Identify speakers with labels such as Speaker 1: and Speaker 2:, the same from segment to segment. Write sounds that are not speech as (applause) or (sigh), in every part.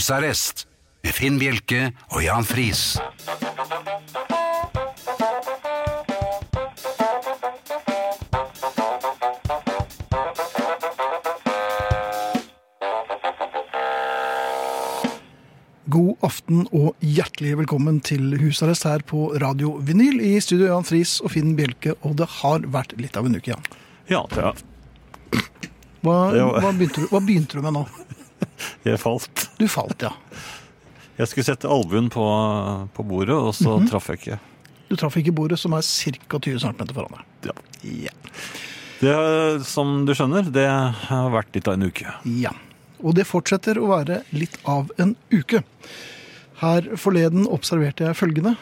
Speaker 1: Husarrest med Finn Bjelke og Jan Friis.
Speaker 2: God aften og hjertelig velkommen til husarrest her på Radio Vinyl. I studio Jan Friis og Finn Bjelke, og det har vært litt av en uke, Jan.
Speaker 3: Ja, det er-
Speaker 2: Hva,
Speaker 3: Det var-
Speaker 2: hva, begynte, du, hva begynte du med nå?
Speaker 3: jeg falt.
Speaker 2: Du falt, ja.
Speaker 3: Jeg skulle sette albuen på, på bordet, og så
Speaker 2: Mhm.
Speaker 3: traff jeg ikke.
Speaker 2: Du traff ikke bordet, som er ca. 20 cm foran deg.
Speaker 3: Ja.
Speaker 2: Ja.
Speaker 3: Det, er, som du skjønner, det har vært litt av en uke.
Speaker 2: Ja. Og det fortsetter å være litt av en uke. Her forleden observerte jeg følgende.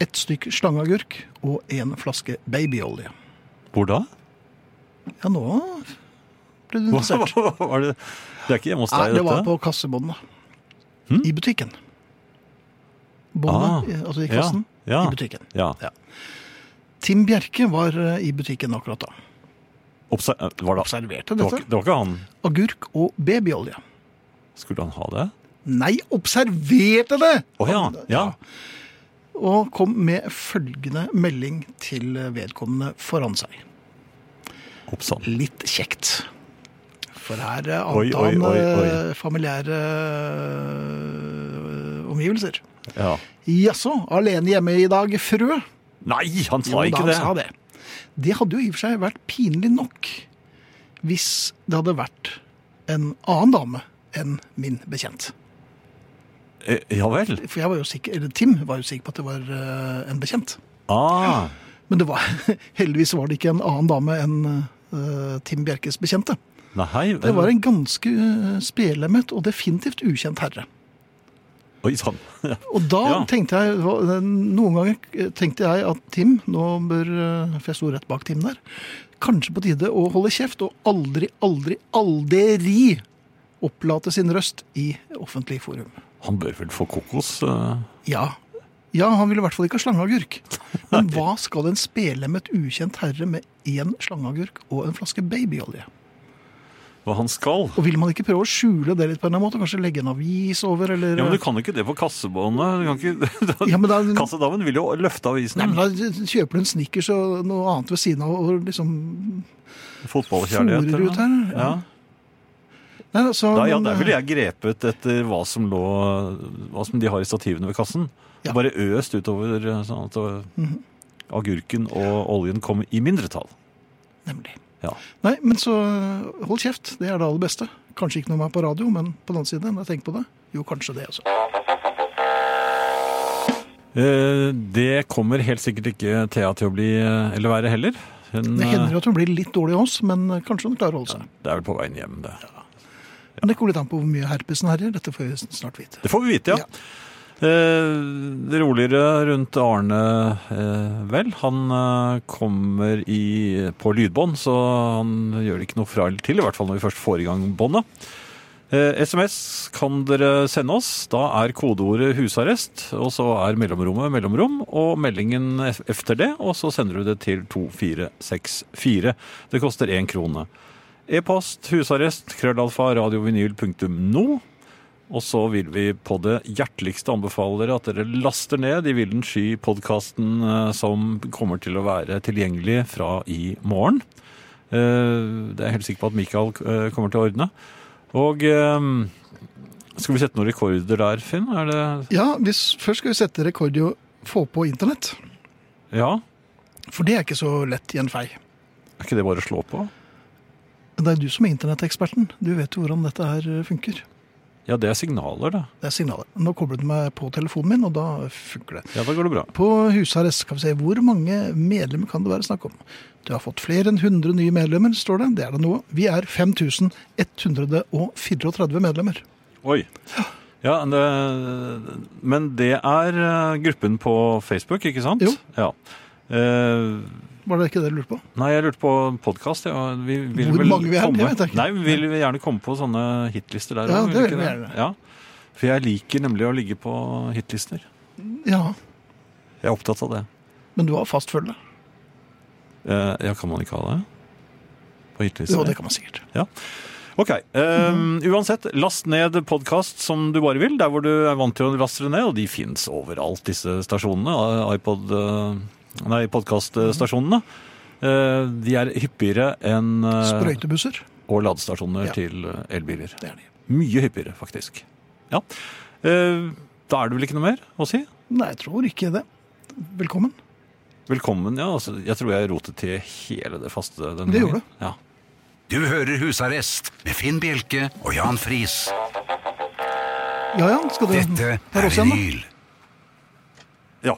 Speaker 2: Ett stykk slangeagurk og en flaske babyolje.
Speaker 3: Hvor da?
Speaker 2: Ja, nå ble du
Speaker 3: Hva,
Speaker 2: interessert.
Speaker 3: var det? det er ikke hjemme hos
Speaker 2: Nei,
Speaker 3: deg,
Speaker 2: Ah, det var
Speaker 3: dette? Hm?
Speaker 2: på kassebåndet. I butikken. Båndet,
Speaker 3: Ah,
Speaker 2: altså i kassen,
Speaker 3: ja, ja.
Speaker 2: i butikken.
Speaker 3: Ja.
Speaker 2: Tim Bjerke var eh, i butikken akkurat da.
Speaker 3: Obser var det,
Speaker 2: Observerte
Speaker 3: eh, det, var,
Speaker 2: dette.
Speaker 3: ikke- det var ikke han.
Speaker 2: Agurk og babyolje.
Speaker 3: Skulle han ha det?
Speaker 2: Nei, observerte det!
Speaker 3: Å ja. ja.
Speaker 2: Og kom med følgende melding til vedkommende foran seg.
Speaker 3: Opp sann.
Speaker 2: Litt kjekt. For her eh,
Speaker 3: Oi,
Speaker 2: ante
Speaker 3: oi,
Speaker 2: han
Speaker 3: oi, oi.
Speaker 2: eh, familiære eh, omgivelser.
Speaker 3: Ja.
Speaker 2: Jaså, alene hjemme i dag, frø?
Speaker 3: Nei, han sa
Speaker 2: Jo, da
Speaker 3: ikke
Speaker 2: han
Speaker 3: det.
Speaker 2: Sa det. det hadde jo i og for seg vært pinlig nok hvis det hadde vært en annen dame enn min bekjent.
Speaker 3: Eh, Ja vel.
Speaker 2: For jeg var jo sikker, eller Tim var jo sikker på at det var eh, en bekjent.
Speaker 3: Ah.
Speaker 2: Men det var, (laughs) heldigvis var det ikke en annen dame enn eh, Tim Bjerkes bekjente.
Speaker 3: Nei, vel.
Speaker 2: Det var en ganske eh, spedlemmet og definitivt ukjent herre.
Speaker 3: Oi sann.
Speaker 2: Og da
Speaker 3: Ja.
Speaker 2: tenkte jeg, hva- noen ganger tenkte jeg at Tim, nå bør, eh, for jeg sto rett bak Tim der, kanskje på tide å holde kjeft og aldri, aldri, aldri opplate sin røst i offentlig forum.
Speaker 3: Han bør vel få kokos? eh.
Speaker 2: Ja, ja han ville i hvert fall ikke ha
Speaker 3: (laughs)
Speaker 2: slangeagurk. Men hva skal en spedlemmet ukjent herre med én slangeagurk og en flaske babyolje?
Speaker 3: Hva han skal?
Speaker 2: Og vil man ikke prøve å skjule det litt på en eller annen måte? Kanskje legge en avis over, eller
Speaker 3: Ja, men du kan jo ikke det på kassebåndet. Du kan ikke... (laughs) da-
Speaker 2: Ja, men da-
Speaker 3: Kassedamen vil jo løfte avisen.
Speaker 2: Nei, Mm. men da kjøper du en Snickers og noe annet ved siden av, og liksom
Speaker 3: Fotballkjærlighet.
Speaker 2: Fòrer
Speaker 3: eller?
Speaker 2: ut her, ja.
Speaker 3: Ja.
Speaker 2: Nei, altså,
Speaker 3: Da, ja,
Speaker 2: men,
Speaker 3: der ville jeg grepet etter hva som lå Hva som de har i stativene ved kassen.
Speaker 2: Ja. Mhm.
Speaker 3: Bare øst utover sånn at øh, agurken og oljen kom i mindretall.
Speaker 2: eh, Nemlig.
Speaker 3: Ja.
Speaker 2: Nei, men så eh, hold kjeft. Det er det aller beste. Kanskje ikke noe med på radio, men på den annen side, når jeg tenker på det Jo, kanskje det, altså.
Speaker 3: Eh, Det kommer helt sikkert ikke Thea til å bli eh, eller være heller. Hun,
Speaker 2: Det hender
Speaker 3: eh,
Speaker 2: jo at hun blir litt dårlig av oss, men eh, kanskje hun klarer å holde seg.
Speaker 3: det er vel på veien hjem, det.
Speaker 2: Men det kommer litt an på hvor mye herpesen herjer. Dette får vi snart vite.
Speaker 3: Det får vi vite, ja. Eh, det roligere rundt Arne eh, vel. Han eh, kommer i, på lydbånd, så han gjør det ikke noe fra eller til, i hvert fall når vi først får i gang båndet. Eh, SMS kan dere sende oss. Da er kodeordet 'husarrest', og så er mellomrommet 'mellomrom', og meldingen ef- efter det, og så sender du det til 2464. Det koster én krone. E-post husarrest krøllalfa radiovinyl.no. Og så vil vi på det hjerteligste anbefale dere at dere laster ned i Vilden sky-podkasten som kommer til å være tilgjengelig fra i morgen. Eh, Det er jeg helt sikker på at Mikael eh, kommer til å ordne. Og eh, skal vi sette noen rekorder der, Finn? Er det
Speaker 2: Ja, hvis, Først skal vi sette rekord i å få på internett.
Speaker 3: Ja?
Speaker 2: For det er ikke så lett i en fei.
Speaker 3: Er ikke det bare å slå på?
Speaker 2: Men det er du som er internetteksperten. Du vet jo hvordan dette her eh, funker.
Speaker 3: Ja, det er signaler, det.
Speaker 2: Det er signalet. Nå kobler du meg på telefonen min, og da funker det.
Speaker 3: Ja, da går det bra.
Speaker 2: På husarrest skal vi se hvor mange medlemmer kan det være snakk om. Du har fått flere enn 100 nye medlemmer, står det. Det er det noe. Vi er 5134 medlemmer.
Speaker 3: Oi. Ja, det, Men det er eh, gruppen på Facebook, ikke sant?
Speaker 2: Jo.
Speaker 3: Ja. Eh,
Speaker 2: Var det ikke det du lurte på?
Speaker 3: Nei, jeg lurte på podkast. Ja. Vi vil
Speaker 2: Hvor
Speaker 3: vel
Speaker 2: mange vi er, det
Speaker 3: komme-
Speaker 2: vet jeg ikke.
Speaker 3: Nei, vi vil vi gjerne komme på sånne hitlister der.
Speaker 2: Ja,
Speaker 3: også,
Speaker 2: det
Speaker 3: ikke
Speaker 2: vil vi gjerne.
Speaker 3: Ja. For jeg liker nemlig å ligge på hitlister.
Speaker 2: Ja,
Speaker 3: Jeg er opptatt av det.
Speaker 2: men du har fast følge.
Speaker 3: Eh, ja, kan man ikke ha det? På hitlister?
Speaker 2: Jo, det kan man sikkert.
Speaker 3: Ok. eh, Uansett, last ned podkast som du bare vil, der hvor du er vant til å laste det ned. Og de fins overalt, disse stasjonene. eh, iPod, eh, nei,
Speaker 2: Mm.
Speaker 3: podkaststasjonene. Eh, de er hyppigere enn eh,
Speaker 2: Sprøytebusser.
Speaker 3: og ladestasjoner
Speaker 2: Ja.
Speaker 3: til eh, elbiler.
Speaker 2: Det er de.
Speaker 3: Mye hyppigere, faktisk. Ja. Eh, da er det vel ikke noe mer å si?
Speaker 2: Nei, jeg tror ikke det. Velkommen.
Speaker 3: Velkommen, ja. Altså, jeg tror jeg rotet til hele det faste denne
Speaker 2: Det gjorde
Speaker 3: gangen. Ja.
Speaker 1: Du hører Husarrest med Finn Bjelke og Jan Friis.
Speaker 2: Ja ja, skal du
Speaker 1: Dette
Speaker 2: Der
Speaker 1: er
Speaker 2: Mm, også en, da.
Speaker 1: vinyl.
Speaker 3: Ja.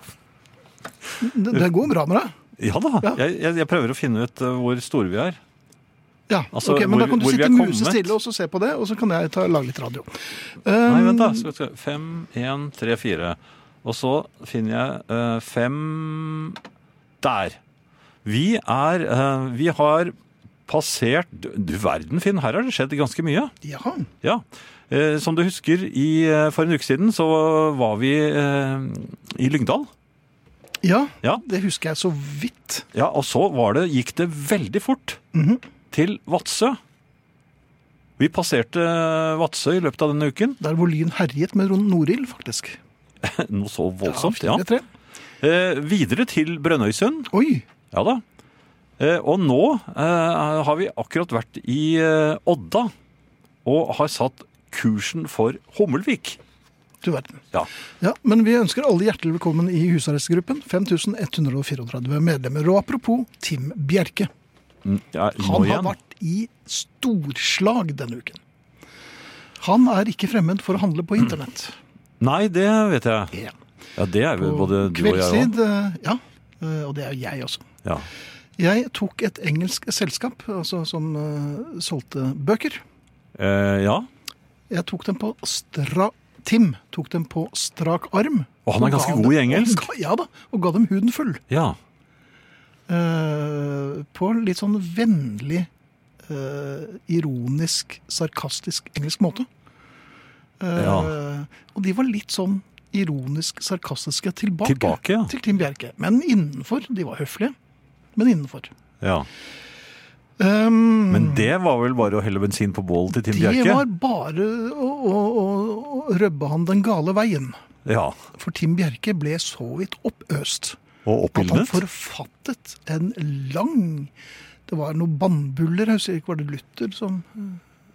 Speaker 2: Det, det går bra med deg.
Speaker 3: ja da.
Speaker 2: Ja.
Speaker 3: Jeg, jeg, jeg prøver å finne ut eh, hvor store vi er.
Speaker 2: Ja,
Speaker 3: Altså,
Speaker 2: ok, men
Speaker 3: hvor-
Speaker 2: Da kan du
Speaker 3: hvor vi
Speaker 2: sitte
Speaker 3: er kommet.
Speaker 2: musestille og så se på det, og så kan jeg ta, lage litt radio.
Speaker 3: Nei, vent, da. Skal, skal, fem, én, tre, fire. Og så finner jeg eh, fem Der. Vi er eh, Vi har passert Du du verden, Finn. Her har det skjedd ganske mye.
Speaker 2: Ja,
Speaker 3: Ja. Eh, som du husker, i, eh, for en uke siden så var vi eh, i Lyngdal.
Speaker 2: ja,
Speaker 3: Ja.
Speaker 2: det husker jeg så vidt.
Speaker 3: ja, og så var det, gikk det veldig fort til Vadsø. Vi passerte eh, Vadsø i løpet av denne uken.
Speaker 2: Der hvor lyn herjet med Norild, faktisk.
Speaker 3: Noe så voldsomt, ja.
Speaker 2: fire, tre.
Speaker 3: Eh, videre til Brønnøysund.
Speaker 2: Oi,
Speaker 3: Ja da. Eh, og nå eh, har vi akkurat vært i eh, Odda og har satt kursen for Hummelvik.
Speaker 2: du verden.
Speaker 3: Ja.
Speaker 2: Ja, Men vi ønsker alle hjertelig velkommen i husarrestgruppen. 5134 medlemmer. Og apropos Tim Bjerke.
Speaker 3: Ja,
Speaker 2: Han
Speaker 3: nå
Speaker 2: har
Speaker 3: igjen.
Speaker 2: vært i storslag denne uken. Han er ikke fremmed for å handle på internett.
Speaker 3: Nei, det vet jeg.
Speaker 2: Ja.
Speaker 3: Mm. Ja, det er vel både du og jeg òg.
Speaker 2: Kveldstid, eh, ja. eh, Og det er jo jeg også.
Speaker 3: Ja.
Speaker 2: Jeg tok et engelsk selskap altså, som eh, solgte bøker.
Speaker 3: Eh, ja.
Speaker 2: Jeg tok dem på stra... Tim tok dem på strak arm.
Speaker 3: Og han er
Speaker 2: ga
Speaker 3: ganske
Speaker 2: dem-
Speaker 3: god i engelsk.
Speaker 2: Og ga- (laughs) Ja da, og ga dem huden full.
Speaker 3: ja.
Speaker 2: Eh, på litt sånn vennlig, eh, ironisk, sarkastisk engelsk måte. Eh,
Speaker 3: Ja.
Speaker 2: Og de var litt sånn ironisk sarkastiske tilbake,
Speaker 3: Tilbake, ja.
Speaker 2: til Tim Bjerke. Men innenfor. De var høflige, men innenfor.
Speaker 3: ja.
Speaker 2: Um,
Speaker 3: Men det var vel bare å helle bensin på bålet til
Speaker 2: De
Speaker 3: Tim Bjerke?
Speaker 2: var bare å, å, å, å røbbe han den gale veien.
Speaker 3: Ja.
Speaker 2: For Tim Bjerke ble så vidt oppøst
Speaker 3: Og
Speaker 2: at han
Speaker 3: oppildnet?
Speaker 2: forfattet en lang Det var noen bannbuller, jeg husker ikke, var det Luther som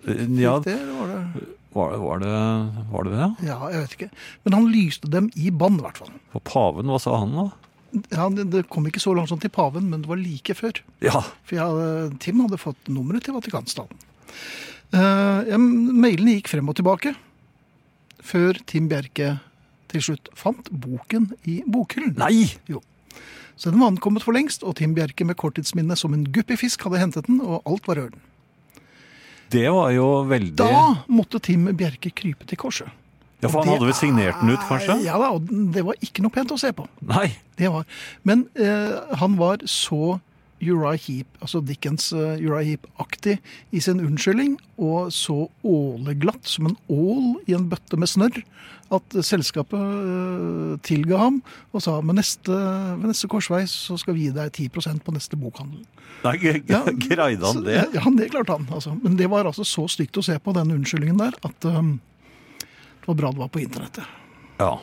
Speaker 3: Eh, Ja,
Speaker 2: fikk det? eller Var det?
Speaker 3: var, var, det, var det det? ja?
Speaker 2: Ja, jeg vet ikke. Men han lyste dem i bann, i hvert fall.
Speaker 3: Og paven, hva sa han da?
Speaker 2: Ja, det, det kom ikke så langt som til paven, men det var like før.
Speaker 3: Ja.
Speaker 2: For jeg hadde, Tim hadde fått nummeret til Vatikanstaten. Eh, ja, mailene gikk frem og tilbake før Tim Bjerke til slutt fant boken i bokhyllen.
Speaker 3: Nei!
Speaker 2: Så den var ankommet for lengst, og Tim Bjerke med korttidsminne som en guppifisk hadde hentet den, og alt var i orden.
Speaker 3: Det var jo veldig
Speaker 2: Da måtte Tim Bjerke krype til korset.
Speaker 3: Ja, For han hadde vel signert den ut, kanskje?
Speaker 2: Ja da, og den- det var ikke noe pent å se på.
Speaker 3: Nei.
Speaker 2: Det var. Men eh, han var så Uriah Heap, altså Dickens eh, Uriah Heap-aktig i sin unnskyldning, og så åleglatt som en ål i en bøtte med snørr, at eh, selskapet eh, tilga ham og sa med neste, ved neste korsvei så skal vi gi deg 10 på neste bokhandel.
Speaker 3: Nei, g-
Speaker 2: Ja,
Speaker 3: g- (laughs) Greide han
Speaker 2: Så-
Speaker 3: det?
Speaker 2: Ja, han det klarte han. Altså. Men det var altså så stygt å se på den unnskyldningen der at eh, det var bra det var på internettet.
Speaker 3: Ja.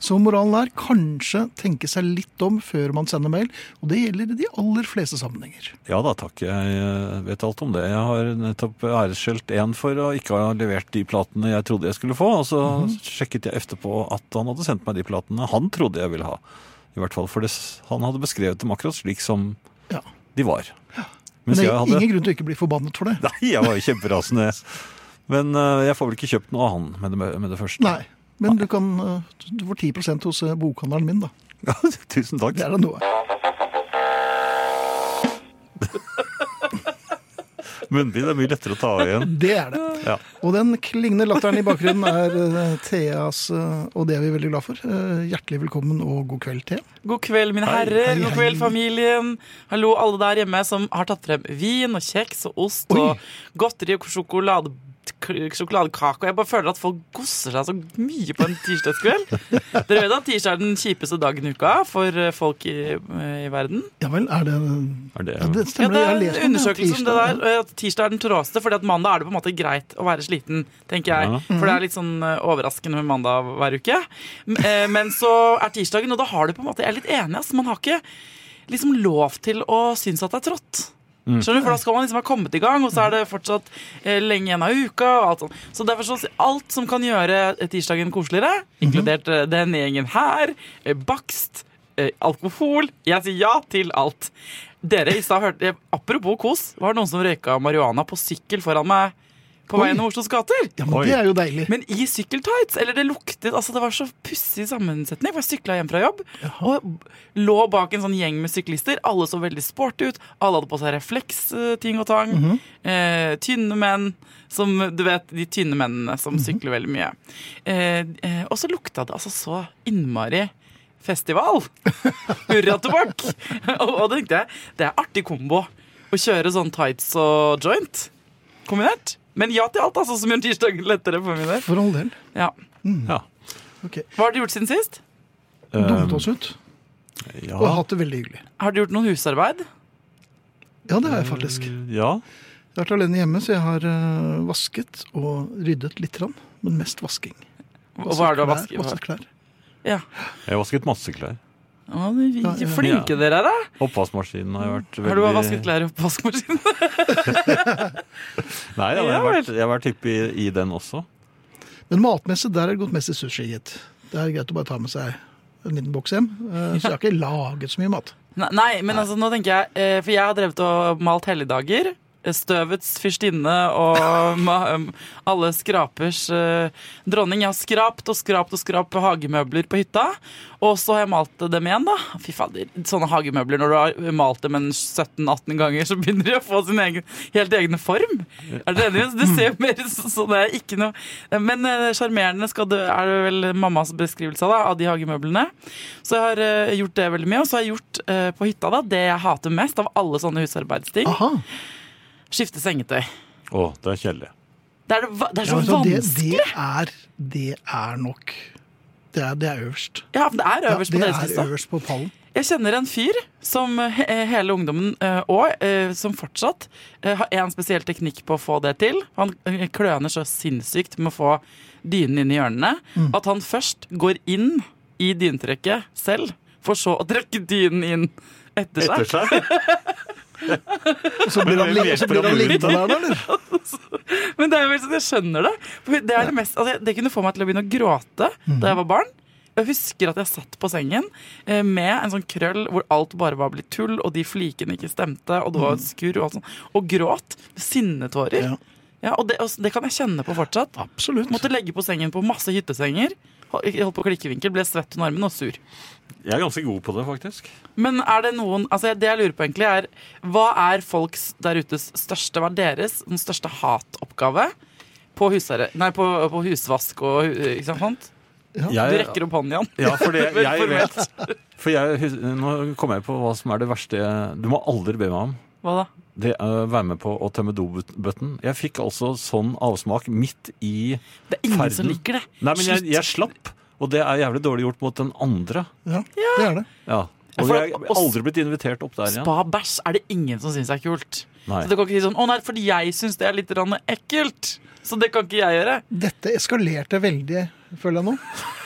Speaker 2: Så moralen er kanskje tenke seg litt om før man sender mail, og det gjelder i de aller fleste sammenhenger.
Speaker 3: Ja da, takk. Jeg eh, vet alt om det. Jeg har nettopp æresskjelt én for å ikke ha levert de platene jeg trodde jeg skulle få, og så
Speaker 2: Mhm.
Speaker 3: sjekket jeg etterpå at han hadde sendt meg de platene han trodde jeg ville ha. I hvert fall, for det, s- han hadde beskrevet dem akkurat slik som
Speaker 2: Ja.
Speaker 3: de var.
Speaker 2: Men
Speaker 3: Mens
Speaker 2: det
Speaker 3: jeg
Speaker 2: er
Speaker 3: hadde
Speaker 2: ingen grunn til å ikke bli forbannet for det.
Speaker 3: (laughs) Nei, jeg var jo kjemperasende. Men eh, jeg får vel ikke kjøpt noe av han med det, med det første.
Speaker 2: Nei. Men du, kan, eh, du får 10 hos eh, bokhandleren min, da.
Speaker 3: (laughs) Ja, Tusen takk.
Speaker 2: Det er da noe.
Speaker 3: Munnbind er mye lettere å ta av
Speaker 2: (laughs)
Speaker 3: igjen.
Speaker 2: Det er det.
Speaker 3: Ja.
Speaker 2: Og den klingende latteren i bakgrunnen er eh, Theas, eh, og det er vi veldig glad for. Eh, Hjertelig velkommen og god kveld, Thea.
Speaker 4: God kveld, mine herrer.
Speaker 2: Hei, hei.
Speaker 4: God kveld, familien. Hallo, alle der hjemme som har tatt frem vin og kjeks og ost
Speaker 2: Oi.
Speaker 4: og godteri og sjokolade k- sjokoladekake. Og jeg bare føler at folk gosser seg så mye på en tirsdagskveld.
Speaker 2: (laughs)
Speaker 4: Dere vet at tirsdag er den kjipeste dagen i uka for eh, folk i, i verden.
Speaker 2: Ja vel, er det
Speaker 3: Er det,
Speaker 2: ja, Det
Speaker 4: Ja,
Speaker 2: stemmer,
Speaker 4: det
Speaker 2: jeg har
Speaker 4: er
Speaker 2: lest
Speaker 4: en undersøkelse om det
Speaker 2: tirsdag,
Speaker 4: der. og at Tirsdag er den tråeste, fordi at mandag er det på en måte greit å være sliten. tenker
Speaker 3: Ja.
Speaker 4: jeg. For
Speaker 2: Mm.
Speaker 4: det er litt sånn eh, overraskende med mandag hver uke. M- eh, Men så er tirsdagen, og da har du på en måte Jeg er litt enig, ass. Man har ikke liksom lov til å synes at det er trått.
Speaker 2: Mm.
Speaker 4: Skjønner du? For da skal man liksom ha kommet i gang, og så er det fortsatt eh, lenge igjen av uka. og alt sånt. Så derfor så alt som kan gjøre eh, tirsdagen koseligere,
Speaker 2: Mhm.
Speaker 4: inkludert eh, denne gjengen her, eh, bakst, eh, alkohol Jeg sier ja til alt. Dere i stad hørte eh, Apropos kos, var det noen som røyka marihuana på sykkel foran meg på
Speaker 2: Oi.
Speaker 4: vei gjennom Oslos gater?
Speaker 2: Ja, men
Speaker 3: Oi.
Speaker 2: det er jo deilig.
Speaker 4: Men i sykkeltights, eller det luktet Altså det var så pussig sammensetning For jeg syklet hjem fra jobb Og lå bak en sånn gjeng med syklister Alle så veldig sporty ut Alle hadde på seg refleks-ting og tang eh, Tynne menn Som, du vet, de tynne mennene som sykler veldig mye eh, eh, Og så lukta det altså så innmari festival Hurra-tobakk Og og da tenkte jeg Det er artig kombo Å kjøre sånn tights og joint Kombinert men ja til alt, altså, som gjør tirsdagen lettere for min del.
Speaker 2: For all del.
Speaker 4: Ja.
Speaker 3: Ja.
Speaker 2: Ok.
Speaker 4: Hva har du gjort siden sist?
Speaker 2: Dummet oss ut og
Speaker 3: eh, Um, Ja.
Speaker 2: hatt det veldig hyggelig.
Speaker 4: Har du gjort noen husarbeid?
Speaker 2: Ja, det har jeg faktisk.
Speaker 3: eh, ja.
Speaker 2: Jeg har vært alene hjemme, så jeg har eh, vasket og ryddet litt, grann, men mest vasking.
Speaker 4: Og hva er det du har
Speaker 2: Vasket klær,
Speaker 4: vasket?
Speaker 2: Vasket klær.
Speaker 4: Ja.
Speaker 3: Jeg har vasket masse klær.
Speaker 4: Å, de
Speaker 2: Ja, ja.
Speaker 4: flinke dere er, da.
Speaker 3: Oppvaskmaskinen har vært veldig
Speaker 4: Har du bare vasket klær
Speaker 2: (laughs)
Speaker 4: i oppvaskmaskinen?
Speaker 3: Nei, ja, men jeg, har
Speaker 4: Ja, vel.
Speaker 3: vært, jeg har vært hyppig i den også.
Speaker 2: Men matmessig, der er det gått mest i sushi, gitt. Det er greit å bare ta med seg en liten boks hjem. eh, Så jeg har ikke laget så mye mat.
Speaker 4: Nei, nei, men altså, nå tenker jeg eh, For jeg har drevet og malt helligdager. eh, Støvets fyrstinne
Speaker 2: (laughs)
Speaker 4: og ma, um, alle skrapers eh, dronning. Jeg har skrapt og skrapt og skrapt på hagemøbler på hytta. Og så har jeg malt dem igjen, da. Fy fader. Sånne hagemøbler, når du har malt dem en 17-18 ganger, så begynner de å få sin egen, helt egne form. Er dere enige? Det ser jo mer ut som sånn det er ikke noe Men eh, sjarmerende skal det- er det vel mammas beskrivelse av, da, av de hagemøblene. Så jeg har eh, gjort det veldig mye. Og så har jeg gjort eh, på hytta da, det jeg hater mest av alle sånne husarbeidsting.
Speaker 2: Aha!
Speaker 4: Skifte sengetøy.
Speaker 3: Å, det er kjedelig.
Speaker 4: Det er, det, va- det er
Speaker 2: Ja,
Speaker 4: så
Speaker 2: vet du hva, det,
Speaker 4: vanskelig.
Speaker 2: det, er, det er nok. Det er, det er øverst.
Speaker 4: Ja, men det er
Speaker 2: Ja,
Speaker 4: øverst
Speaker 2: det
Speaker 4: på deres
Speaker 2: er
Speaker 4: liste.
Speaker 2: øverst på pallen.
Speaker 4: Jeg kjenner en fyr som eh, he hele ungdommen eh, og eh, som fortsatt eh, har en spesiell teknikk på å få det til. Han eh, kløner så sinnssykt med å få dynen inn i hjørnene at han først går inn i dynetrekket selv, for så å trekke dynen inn etter seg.
Speaker 3: (laughs) seg?
Speaker 2: Og så blir han,
Speaker 3: hvem
Speaker 2: li- og så
Speaker 3: hjelper
Speaker 2: blir
Speaker 3: han
Speaker 2: han
Speaker 3: mulig?
Speaker 2: liggende der, da, eller?
Speaker 4: Men det er jo helt sånn, jeg skjønner det. For det, er det, mest, altså, det kunne få meg til å begynne å gråte da jeg var barn. Jeg husker at jeg satt på sengen eh, med en sånn krøll hvor alt bare var blitt tull, og de flikene ikke stemte, og det var skurr og alt sånt. Og gråt. Sinnetårer.
Speaker 2: Ja.
Speaker 4: Ja. og det, og det kan jeg kjenne på fortsatt.
Speaker 2: Absolutt.
Speaker 4: Måtte legge på sengen på masse hyttesenger. Hold- Holdt på klikkevinkel, ble svett under armen og sur.
Speaker 3: (laughs) Jeg er ganske god på det, faktisk.
Speaker 4: Men er det noen altså Det jeg lurer på, egentlig, er hva er folks der utes største Hva er deres den største hatoppgave på, husare, nei, på, på husvask og hu- ikke sant? Du
Speaker 3: Jeg,
Speaker 4: rekker opp hånden igjen.
Speaker 3: ja, for
Speaker 4: (laughs)
Speaker 3: det, jeg vet For jeg, hus- nå kommer jeg på hva som er det verste jeg- Du må aldri be meg om.
Speaker 4: Hva da?
Speaker 3: Det er å være med på å tømme dobøtten. Jeg fikk altså sånn avsmak midt i
Speaker 4: Det er ingen som
Speaker 3: Ferden.
Speaker 4: liker det.
Speaker 3: Nei, men jeg,
Speaker 4: Slutt.
Speaker 3: jeg slapp, og det er jævlig dårlig gjort mot den andre.
Speaker 2: Ja, det er det.
Speaker 3: Ja.
Speaker 4: Ja,
Speaker 3: Og
Speaker 4: for
Speaker 3: jeg
Speaker 4: at-
Speaker 3: har aldri blitt invitert opp der igjen.
Speaker 4: Spa bæsj er det ingen som syns er kult.
Speaker 3: Nei.
Speaker 4: Så det kan ikke si sånn 'Å nei, fordi jeg syns det er litt rann ekkelt', så det kan ikke jeg gjøre.
Speaker 2: Dette eskalerte veldig, føler jeg nå.
Speaker 4: (laughs)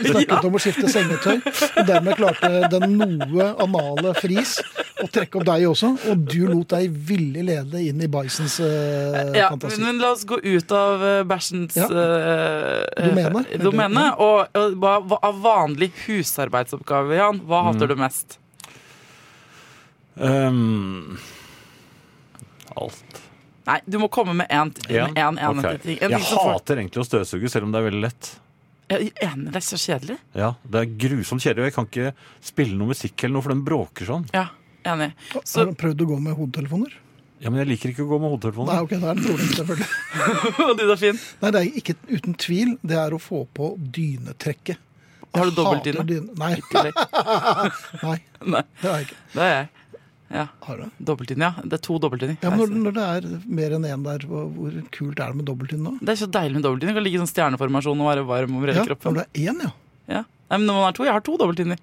Speaker 2: Vi Snakket om å skifte sengetøy. Og dermed klarte den noe anale fris å trekke opp deg også. Og du lot deg villig lede inn i Bisons eh,
Speaker 4: Ja,
Speaker 2: fantasi.
Speaker 4: men la oss gå ut av eh, bæsjens
Speaker 2: Ja.
Speaker 4: eh, eh,
Speaker 2: Domene.
Speaker 4: domene og, og hva, hva, av vanlig husarbeidsoppgave, Jan, hva
Speaker 2: Mm.
Speaker 4: hater du mest?
Speaker 3: Ehm, alt.
Speaker 4: Nei, du må komme med én
Speaker 3: Igjen?
Speaker 4: en, en, en,
Speaker 3: Ok.
Speaker 4: ting. En
Speaker 3: Jeg
Speaker 4: ting som får-
Speaker 3: hater egentlig å støvsuge, selv om det er veldig lett.
Speaker 4: Jeg er enig, det er så kjedelig.
Speaker 3: Ja, Det er grusomt kjedelig, og jeg kan ikke spille noe musikk eller noe, for den bråker sånn.
Speaker 4: Ja, enig. Så,
Speaker 2: Har du prøvd å gå med hodetelefoner?
Speaker 3: Ja, Men jeg liker ikke å gå med
Speaker 2: Nei,
Speaker 3: hodetelefoner.
Speaker 2: ok, det er en problem, selvfølgelig.
Speaker 4: (laughs) og du, da, Finn?
Speaker 2: Nei, det er ikke uten tvil. Det er å få på dynetrekket.
Speaker 4: Har du
Speaker 2: Jeg hater
Speaker 4: dobbeltdyne?
Speaker 2: dyne- Nei,
Speaker 4: Nei,
Speaker 2: nei,
Speaker 4: (laughs) Nei,
Speaker 2: det har jeg ikke.
Speaker 4: det er jeg. Ja,
Speaker 2: Har du det?
Speaker 4: Dobbelttynn, ja. Det er to dobbelttynner.
Speaker 2: Ja, men når, når det er mer enn én der, hvor, hvor kult er det med dobbelttynn da?
Speaker 4: Det er så deilig med dobbelttynner. Kan ligge i sånn stjerneformasjon og være varm over hele
Speaker 2: Ja, når
Speaker 4: kroppen.
Speaker 2: det er én, ja.
Speaker 4: Ja. Nei, men når man er to, jeg har to dobbelttynner.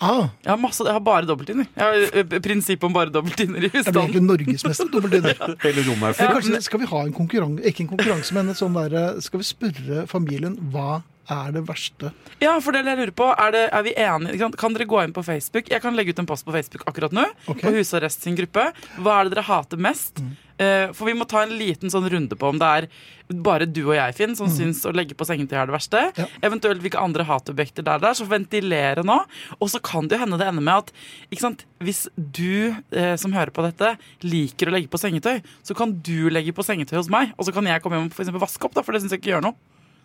Speaker 2: Ah,
Speaker 4: Jeg har masse, jeg har bare dobbelttynner. Jeg har eh, p- prinsipp om bare dobbelttynner i
Speaker 2: jeg blir
Speaker 4: husstanden.
Speaker 2: egentlig norgesmester i dobbelttynner.
Speaker 3: Hele rommet er
Speaker 2: Men
Speaker 3: fullt.
Speaker 2: kanskje skal vi ha en konkurranse, ikke en konkurranse, men et sånn derre Skal vi spørre familien hva er det verste?
Speaker 4: Ja, for det jeg lurer på, er, det, er vi enige? Ikke sant? Kan dere gå inn på Facebook? Jeg kan legge ut en post på Facebook akkurat nå.
Speaker 2: Ok. Mm.
Speaker 4: På Husarrest sin gruppe. Hva er det dere hater mest? Eh, for vi må ta en liten sånn runde på om det er bare du og jeg, Finn, som syns å legge på sengetøy er det verste.
Speaker 2: Mm. Ja.
Speaker 4: Eventuelt hvilke andre hatobjekter det er der. Så ventilere nå. Og så kan det jo hende det ender med at ikke sant? hvis du eh, som hører på dette, liker å legge på sengetøy, så kan du legge på sengetøy hos meg. Og så kan jeg komme hjem og for eksempel vaske opp, da, for det syns jeg ikke gjør noe.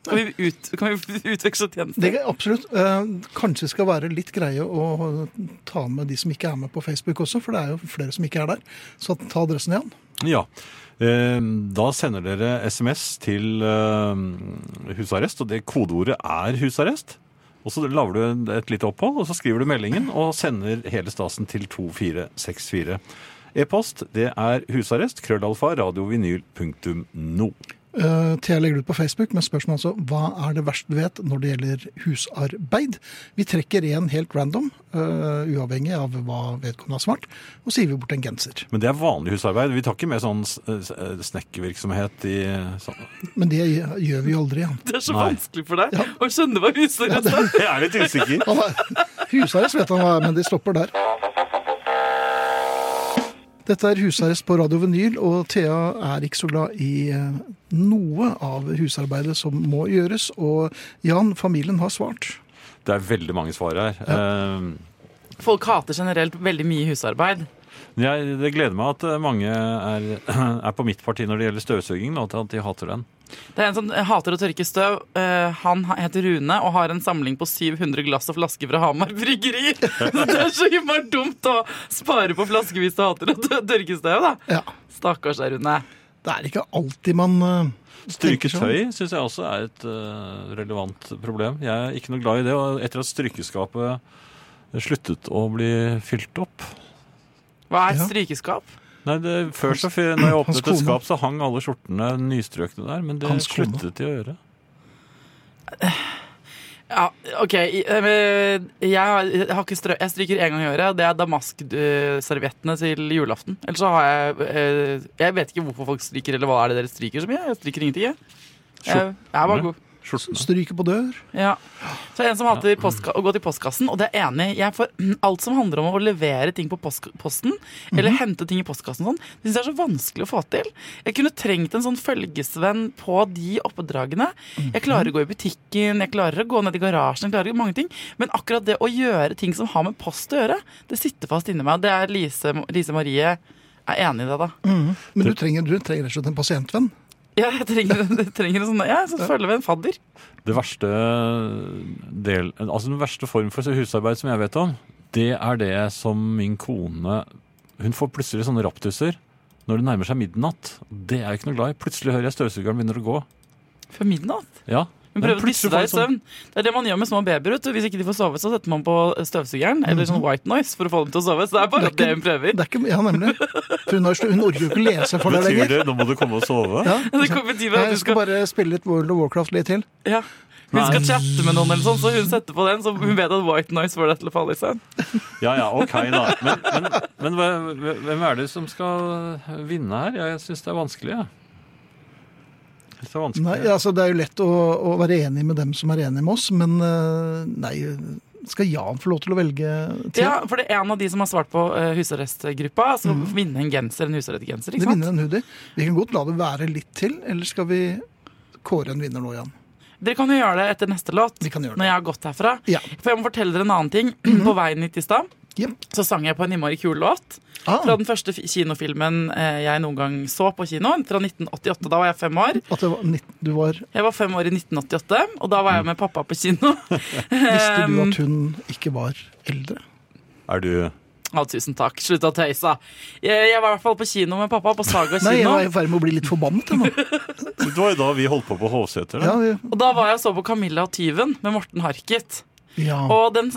Speaker 4: Kan vi, ut, kan vi (laughs) utveksle tjenester?
Speaker 2: Det er absolutt. Eh, kanskje skal være litt greie å ta med de som ikke er med på Facebook også, for det er jo flere som ikke er der. Så ta adressen igjen.
Speaker 3: Ja. Eh, Da sender dere SMS til eh, husarrest, og det kodeordet er husarrest. Og så lager du en- et lite opphold, og så skriver du meldingen og sender hele stasen til 2464. E-post det er husarrest, krøllalfa, radiovinyl.no.
Speaker 2: Eh, Thea legger det ut på Facebook, men spørsmålet altså hva er det verste du vet når det gjelder husarbeid? Vi trekker en helt random, eh, uavhengig av hva vedkommende har svart, og sier vi bort en genser.
Speaker 3: Men det er vanlig husarbeid. Vi tar ikke med sånn s- s- snekkervirksomhet i sånn.
Speaker 2: Men det gjør vi jo aldri igjen.
Speaker 4: (laughs) Det er så
Speaker 3: Nei.
Speaker 4: vanskelig for deg å skjønne hva husarrest er.
Speaker 3: Jeg er litt usikker.
Speaker 2: (laughs) Han er- Husarrest vet han hva er, men de stopper der. Dette er husarrest på Radio Vinyl, og Thea er ikke så glad i eh, noe av husarbeidet som må gjøres. Og Jan, familien har svart.
Speaker 3: Det er veldig mange svar her. Eh,
Speaker 4: Folk hater generelt veldig mye husarbeid.
Speaker 3: Jeg, det gleder meg at eh, mange er, (clears throat) er på mitt parti når det gjelder støvsugingen, og at de hater den.
Speaker 4: Det er en som hater å tørke støv. Eh, han heter Rune og har en samling på 700 glass og flasker fra Hamar bryggeri. (laughs) Så det er så himmelig dumt å spare på flasker hvis du hater å tø- tørke støv, da.
Speaker 2: Ja,
Speaker 4: Stakkars deg, Rune.
Speaker 2: Det er ikke alltid man eh,
Speaker 3: Stryke
Speaker 2: tenker sånn.
Speaker 3: tøy syns jeg også er et eh, relevant problem. Jeg er ikke noe glad i det. Og etter at strykeskapet sluttet å bli fylt opp
Speaker 4: Hva er
Speaker 2: Ja.
Speaker 4: strykeskap?
Speaker 3: Nei, det, før så, fyr- når jeg
Speaker 2: Hans
Speaker 3: åpnet et
Speaker 2: kone.
Speaker 3: skap, så hang alle skjortene nystrøkne der, men det
Speaker 2: Hans kone.
Speaker 3: sluttet de å gjøre.
Speaker 4: Ja, OK. i- eh, men Jeg, har, jeg, har ikke strø jeg stryker én gang i året. og Det er damaskserviettene til julaften. Ellers så har jeg eh, Jeg vet ikke hvorfor folk stryker, eller hva er det dere stryker så mye? Jeg stryker ingenting, jeg. Jeg, jeg er bare god.
Speaker 3: Skjortene.
Speaker 2: Stryke på dør.
Speaker 4: Ja. Så er det en som hater postka- å gå til postkassen, og det er jeg enig. i. Jeg får (clears throat) mm, alt som handler om å levere ting på post posten, eller hente ting i postkassen og sånn, det syns jeg er så vanskelig å få til. Jeg kunne trengt en sånn følgesvenn på de oppdragene. Jeg klarer å gå i butikken, jeg klarer å gå ned i garasjen, jeg klarer mange ting. Men akkurat det å gjøre ting som har med post å gjøre, det sitter fast inni meg. Det er Lise, Lise Marie er enig i det, da.
Speaker 2: Men du trenger, du trenger rett og slett en pasientvenn.
Speaker 4: Ja, jeg trenger, (laughs) jeg trenger en sånn, ja, jeg så følger vi en fadder.
Speaker 3: Det verste del, altså den verste form for husarbeid som jeg vet om, det er det som min kone Hun får plutselig sånne raptusser når det nærmer seg midnatt. Det er jeg ikke noe glad i. Plutselig hører jeg støvsugeren begynner å gå.
Speaker 4: Før midnatt.
Speaker 3: Ja.
Speaker 4: Hun
Speaker 3: Men
Speaker 4: prøver å disse
Speaker 3: plutselig
Speaker 4: deg i
Speaker 3: får jeg sånn-
Speaker 2: sånn-
Speaker 4: søvn. Det er det man gjør med små babyer. vet du. Hvis ikke de får sove, så setter man på støvsugeren eller sånn white noise for å få dem til å sove. Så det er bare
Speaker 2: Mm. Det er
Speaker 4: det
Speaker 2: ikke-
Speaker 4: hun prøver.
Speaker 2: Det er ikke, ja, nemlig. For hun, har, slu- hun orker jo ikke lese for deg
Speaker 3: Betyr
Speaker 2: lenger.
Speaker 3: det nå må du komme og sove?
Speaker 2: Ja.
Speaker 4: Det kan bety
Speaker 2: Nei,
Speaker 4: at du
Speaker 2: Jeg skal
Speaker 4: skal,
Speaker 2: bare spille litt World of Warcraft litt til.
Speaker 4: ja. Hun
Speaker 3: Nei.
Speaker 4: skal chatte med noen, eller sånn, så hun setter på den, så hun vet at white noise får deg til å falle i søvn.
Speaker 3: Ja ja, ok da. Men, men, men hve- hvem er det som skal vinne her? Jeg syns det er vanskelig, jeg. Jeg synes det er vanskelig.
Speaker 2: Nei, altså Det er jo lett å, å være enig med dem som er enig med oss, men eh, nei Skal Jan få lov til å velge til?
Speaker 4: Ja, for det er en av de som har svart på eh, husarrestgruppa, som vinner en genser, en husarrestgenser.
Speaker 2: Mm. det
Speaker 4: ikke sant?
Speaker 2: vinner en hoodie. Vi kan godt la det være litt til, eller skal vi kåre en vinner nå, Jan?
Speaker 4: Dere kan jo gjøre det etter neste låt,
Speaker 2: Vi kan gjøre det.
Speaker 4: når jeg har gått herfra.
Speaker 2: Ja. Mhm.
Speaker 4: For jeg må fortelle dere en annen ting. (clears throat) På veien hit i stad
Speaker 2: Jep.
Speaker 4: så sang jeg på en innmari kul låt. Fra
Speaker 2: Ah,
Speaker 4: den første fi- kinofilmen eh, jeg noen gang så på kino, fra 1988. Da var jeg fem år.
Speaker 2: at det var, nitt- du var,
Speaker 4: Jeg var fem år i 1988, og da var jeg med pappa på kino. (laughs)
Speaker 2: visste du
Speaker 4: Ehm.
Speaker 2: at hun ikke var eldre?
Speaker 3: Er du
Speaker 4: Å, tusen takk. Slutt å tøyse. Jeg, jeg var i hvert fall på kino med pappa, på Saga
Speaker 2: Nei, jeg
Speaker 4: kino.
Speaker 2: var i ferd med å bli litt forbannet. jeg,
Speaker 4: (laughs)
Speaker 2: nå.
Speaker 3: Det var jo da vi holdt på på Hovseter. da.
Speaker 2: Ja, vi,
Speaker 4: Og da var jeg og så på Camilla og tyven med Morten Harket.
Speaker 2: Ja.
Speaker 4: Og den,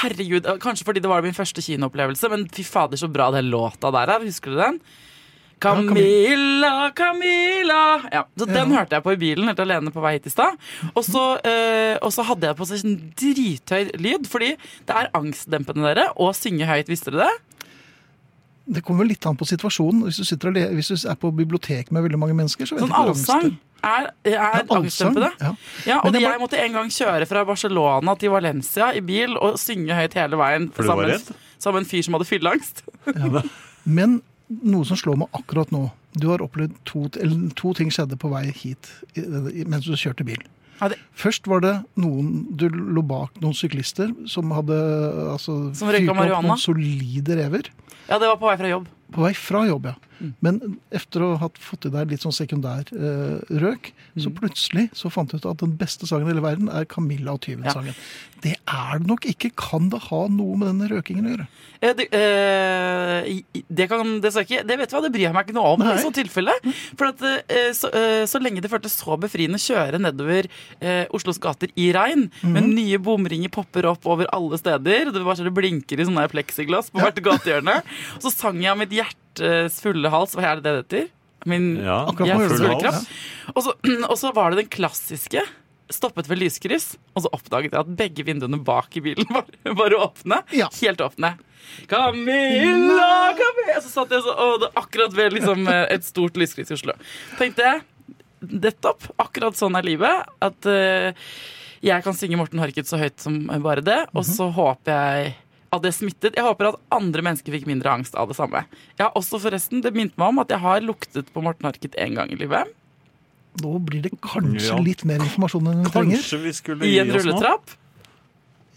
Speaker 4: herregud, kanskje fordi det var min første kinoopplevelse, men fy fader så bra den låta der er. Husker du den?
Speaker 2: Camilla.
Speaker 4: Camilla, Camilla Ja, så Den
Speaker 2: Ja.
Speaker 4: hørte jeg på i bilen helt alene på vei hit i stad. Og så eh, og så hadde jeg på seg sånn drithøy lyd, fordi det er angstdempende, dere, å synge høyt. Visste dere det?
Speaker 2: Det kommer vel litt an på situasjonen. Hvis du, sitter og le hvis du er på bibliotek med veldig mange mennesker, så vet
Speaker 4: Sånn
Speaker 2: du ikke hvor
Speaker 4: allsang
Speaker 2: angst
Speaker 4: er, er
Speaker 2: det- Ja, allsang,
Speaker 4: angstdempende.
Speaker 2: Ja.
Speaker 4: Ja,
Speaker 2: Men
Speaker 4: og
Speaker 2: jeg
Speaker 4: jeg,
Speaker 2: bare-
Speaker 4: måtte en gang kjøre fra Barcelona til Valencia i bil og synge høyt hele veien
Speaker 3: For du var
Speaker 4: sammen,
Speaker 3: redd?
Speaker 4: sammen med en fyr som hadde fylleangst.
Speaker 2: Men noe som slår meg akkurat nå Du har opplevd to, eller, to ting skjedde på vei hit i- i- mens du kjørte bil.
Speaker 4: Ja, det-
Speaker 2: Først var det noen Du lå bak noen syklister som hadde altså,
Speaker 4: Som røyka
Speaker 2: fyrt opp
Speaker 4: marihuana.
Speaker 2: noen solide rever.
Speaker 4: Ja, det var på vei fra jobb.
Speaker 2: På vei fra jobb, ja.
Speaker 4: Mm.
Speaker 2: Men etter å ha fått i deg litt sånn sekundær eh, røk,
Speaker 4: Mm.
Speaker 2: så plutselig så fant du ut at den beste sangen i hele verden er Camilla og tyven-sangen. Det er det nok ikke. Kan det ha noe med denne røkingen å gjøre?
Speaker 4: Eh, Det, eh, i- i- det kan det skal ikke Det vet du hva, det bryr jeg meg ikke noe om
Speaker 2: Nei.
Speaker 4: i sånt tilfelle. For at, eh, så, eh, så lenge det føltes så befriende å kjøre nedover eh, Oslos gater i regn, med
Speaker 2: Mhm.
Speaker 4: nye bomringer popper opp over alle steder, det bare så det blinker i sånne pleksiglass på hvert gatehjørne, og så sang jeg av mitt hjertes fulle hals, hva er det det heter? Min
Speaker 3: Ja,
Speaker 2: Akkurat
Speaker 4: Ja,
Speaker 2: nå gjør du
Speaker 4: full
Speaker 2: det.
Speaker 4: klapp. Og så, (clears throat) og så var det den klassiske. Stoppet ved lyskryss, og så oppdaget jeg at begge vinduene bak i bilen (laughs) var, var åpne.
Speaker 2: Ja.
Speaker 4: Helt åpne. Camilla, Camilla Så satt jeg så, og det akkurat ved liksom, eh, et stort lyskryss i Oslo. Tenkte jeg, nettopp, akkurat sånn er livet. At eh, jeg kan synge Morten Harket så høyt som bare det. Og så håper jeg at det smittet. Jeg håper at andre mennesker fikk mindre angst av det samme. Jeg har også forresten, Det minte meg om at jeg har luktet på Morten Harket én gang i livet.
Speaker 2: Nå blir det kanskje
Speaker 3: Ja.
Speaker 2: litt mer informasjon enn vi trenger.
Speaker 3: Kanskje vi skulle
Speaker 4: I
Speaker 3: gi
Speaker 4: en
Speaker 3: oss nå?
Speaker 4: rulletrapp.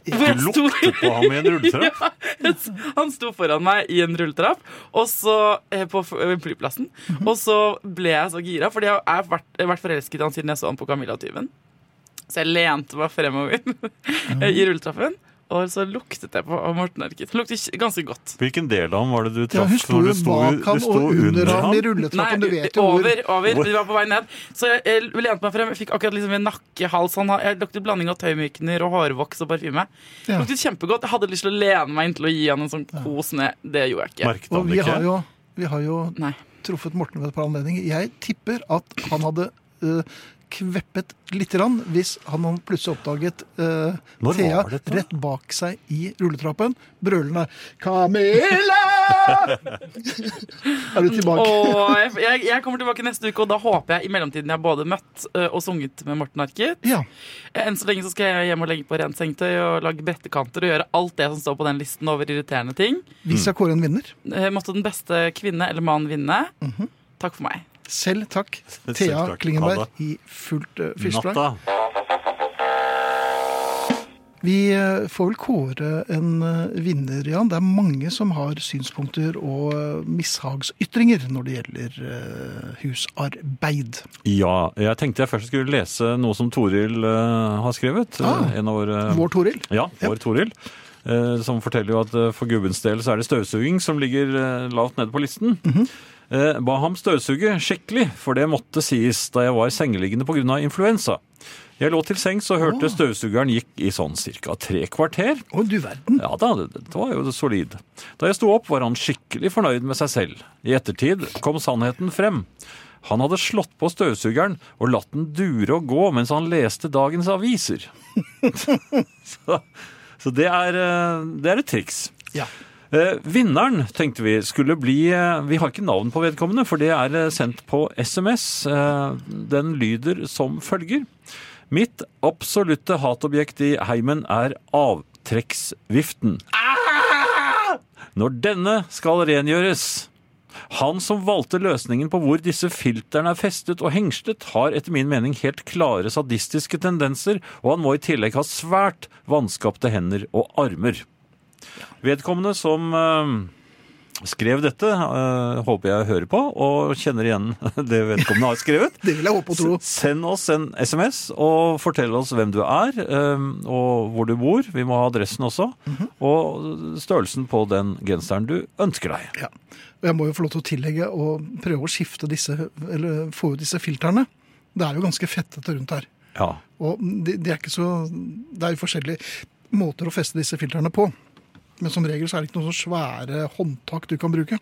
Speaker 4: Hvor jeg
Speaker 3: Du
Speaker 4: sto- (laughs)
Speaker 3: lukter på ham i en rulletrapp?
Speaker 4: Han sto foran meg i en rulletrapp og så, eh, på f- eh, flyplassen. Og så ble jeg så gira, fordi jeg har vært, jeg har vært forelsket i han siden jeg så han på Camilla og tyven. Så jeg lente meg fremover (laughs)
Speaker 2: Mm.
Speaker 4: i rulletrappen, og så luktet jeg på Morten Erket. Det lukter kj- ganske godt.
Speaker 3: Hvilken del av ham var det du
Speaker 2: Ja,
Speaker 3: traff?
Speaker 2: hun sto jo
Speaker 3: når du
Speaker 2: bak
Speaker 3: du
Speaker 2: han
Speaker 3: sto
Speaker 2: og under ham i
Speaker 4: Nei,
Speaker 2: rulletrappen. Du vet jo hvor.
Speaker 4: over, over. Vi var på vei ned. Så jeg, jeg lente meg frem, jeg fikk akkurat liksom en nakkehals. Han, har- jeg luktet blanding av tøymykner og hårvoks og parfyme.
Speaker 2: Ja.
Speaker 4: Luktet kjempegodt. Jeg hadde lyst til å lene meg inn til å gi han en sånn kos ned. Det gjorde jeg ikke.
Speaker 3: Merket
Speaker 2: Og
Speaker 3: han
Speaker 2: vi
Speaker 3: det ikke?
Speaker 2: har jo, vi har jo
Speaker 4: Nei.
Speaker 2: truffet Morten ved et par anledninger. Jeg tipper at han hadde eh, kveppet litt grann hvis han hadde plutselig oppdaget eh,
Speaker 3: Når
Speaker 2: Thea
Speaker 3: var dette?
Speaker 2: rett bak seg i rulletrappen, brølende
Speaker 4: (laughs)
Speaker 2: 'Camilla!' er du tilbake?
Speaker 4: Og jeg, jeg, jeg kommer tilbake neste uke, og da håper jeg i mellomtiden jeg har både møtt ø, og sunget med Morten Arket.
Speaker 2: Ja.
Speaker 4: Enn så lenge så skal jeg hjem og legge på rent sengetøy og lage brettekanter og gjøre alt det som står på den listen over irriterende ting.
Speaker 2: Vi
Speaker 3: Mm.
Speaker 2: skal kåre en vinner.
Speaker 4: Eh, Måtte den beste kvinne eller mann vinne.
Speaker 2: Mhm.
Speaker 4: Takk for meg.
Speaker 2: Selv takk,
Speaker 3: (laughs) Selv
Speaker 2: Thea
Speaker 3: takk,
Speaker 2: Klingenberg
Speaker 3: Anna.
Speaker 2: i fullt uh, fyrspray.
Speaker 3: Natta.
Speaker 2: Vi eh, får vel kåre en eh, vinner, Jan. Det er mange som har synspunkter og eh, mishagsytringer når det gjelder eh, husarbeid.
Speaker 3: Ja, jeg tenkte jeg først skulle lese noe som Toril eh, har skrevet.
Speaker 2: Ah.
Speaker 3: eh, en av våre
Speaker 2: Vår Toril.
Speaker 3: Ja, vår Toril. eh, Som forteller jo at eh, for gubbens del så er det støvsuging som ligger eh, lavt nede på listen. Eh, Ba ham støvsuge skikkelig, for det måtte sies da jeg var sengeliggende pga. influensa. Jeg lå til sengs og hørte støvsugeren gikk i sånn ca. tre kvarter.
Speaker 2: Å, du verden.
Speaker 3: Ja da, det det var jo solid. Da jeg sto opp, var han skikkelig fornøyd med seg selv. I ettertid kom sannheten frem. Han hadde slått på støvsugeren og latt den dure og gå mens han leste dagens aviser. (laughs) så så det, er, eh, det er et triks.
Speaker 2: Ja.
Speaker 3: Eh, vinneren tenkte vi skulle bli eh, Vi har ikke navn på vedkommende, for det er eh, sendt på SMS. Eh, den lyder som følger. Mitt absolutte hatobjekt i heimen er avtrekksviften. Når denne skal rengjøres han som valgte løsningen på hvor disse filterne er festet og hengslet, har etter min mening helt klare sadistiske tendenser, og han må i tillegg ha svært vanskapte hender og armer. Vedkommende som eh, skrev dette, eh, håper jeg hører på og kjenner igjen (laughs) det vedkommende har skrevet.
Speaker 2: Det vil jeg håpe og tro.
Speaker 3: S- Send oss en SMS og fortell oss hvem du er, eh, og hvor du bor. Vi må ha adressen også.
Speaker 2: Mhm.
Speaker 3: Og størrelsen på den genseren du ønsker deg.
Speaker 2: Ja. Og jeg må jo få lov til å tillegge og prøve å skifte disse, eller få ut disse filterne. Det er jo ganske fettete rundt her.
Speaker 3: Ja.
Speaker 2: Og de, de er ikke så Det er jo forskjellig måter å feste disse filtrene på. Men som regel så er det ikke noen sånne svære håndtak du kan bruke.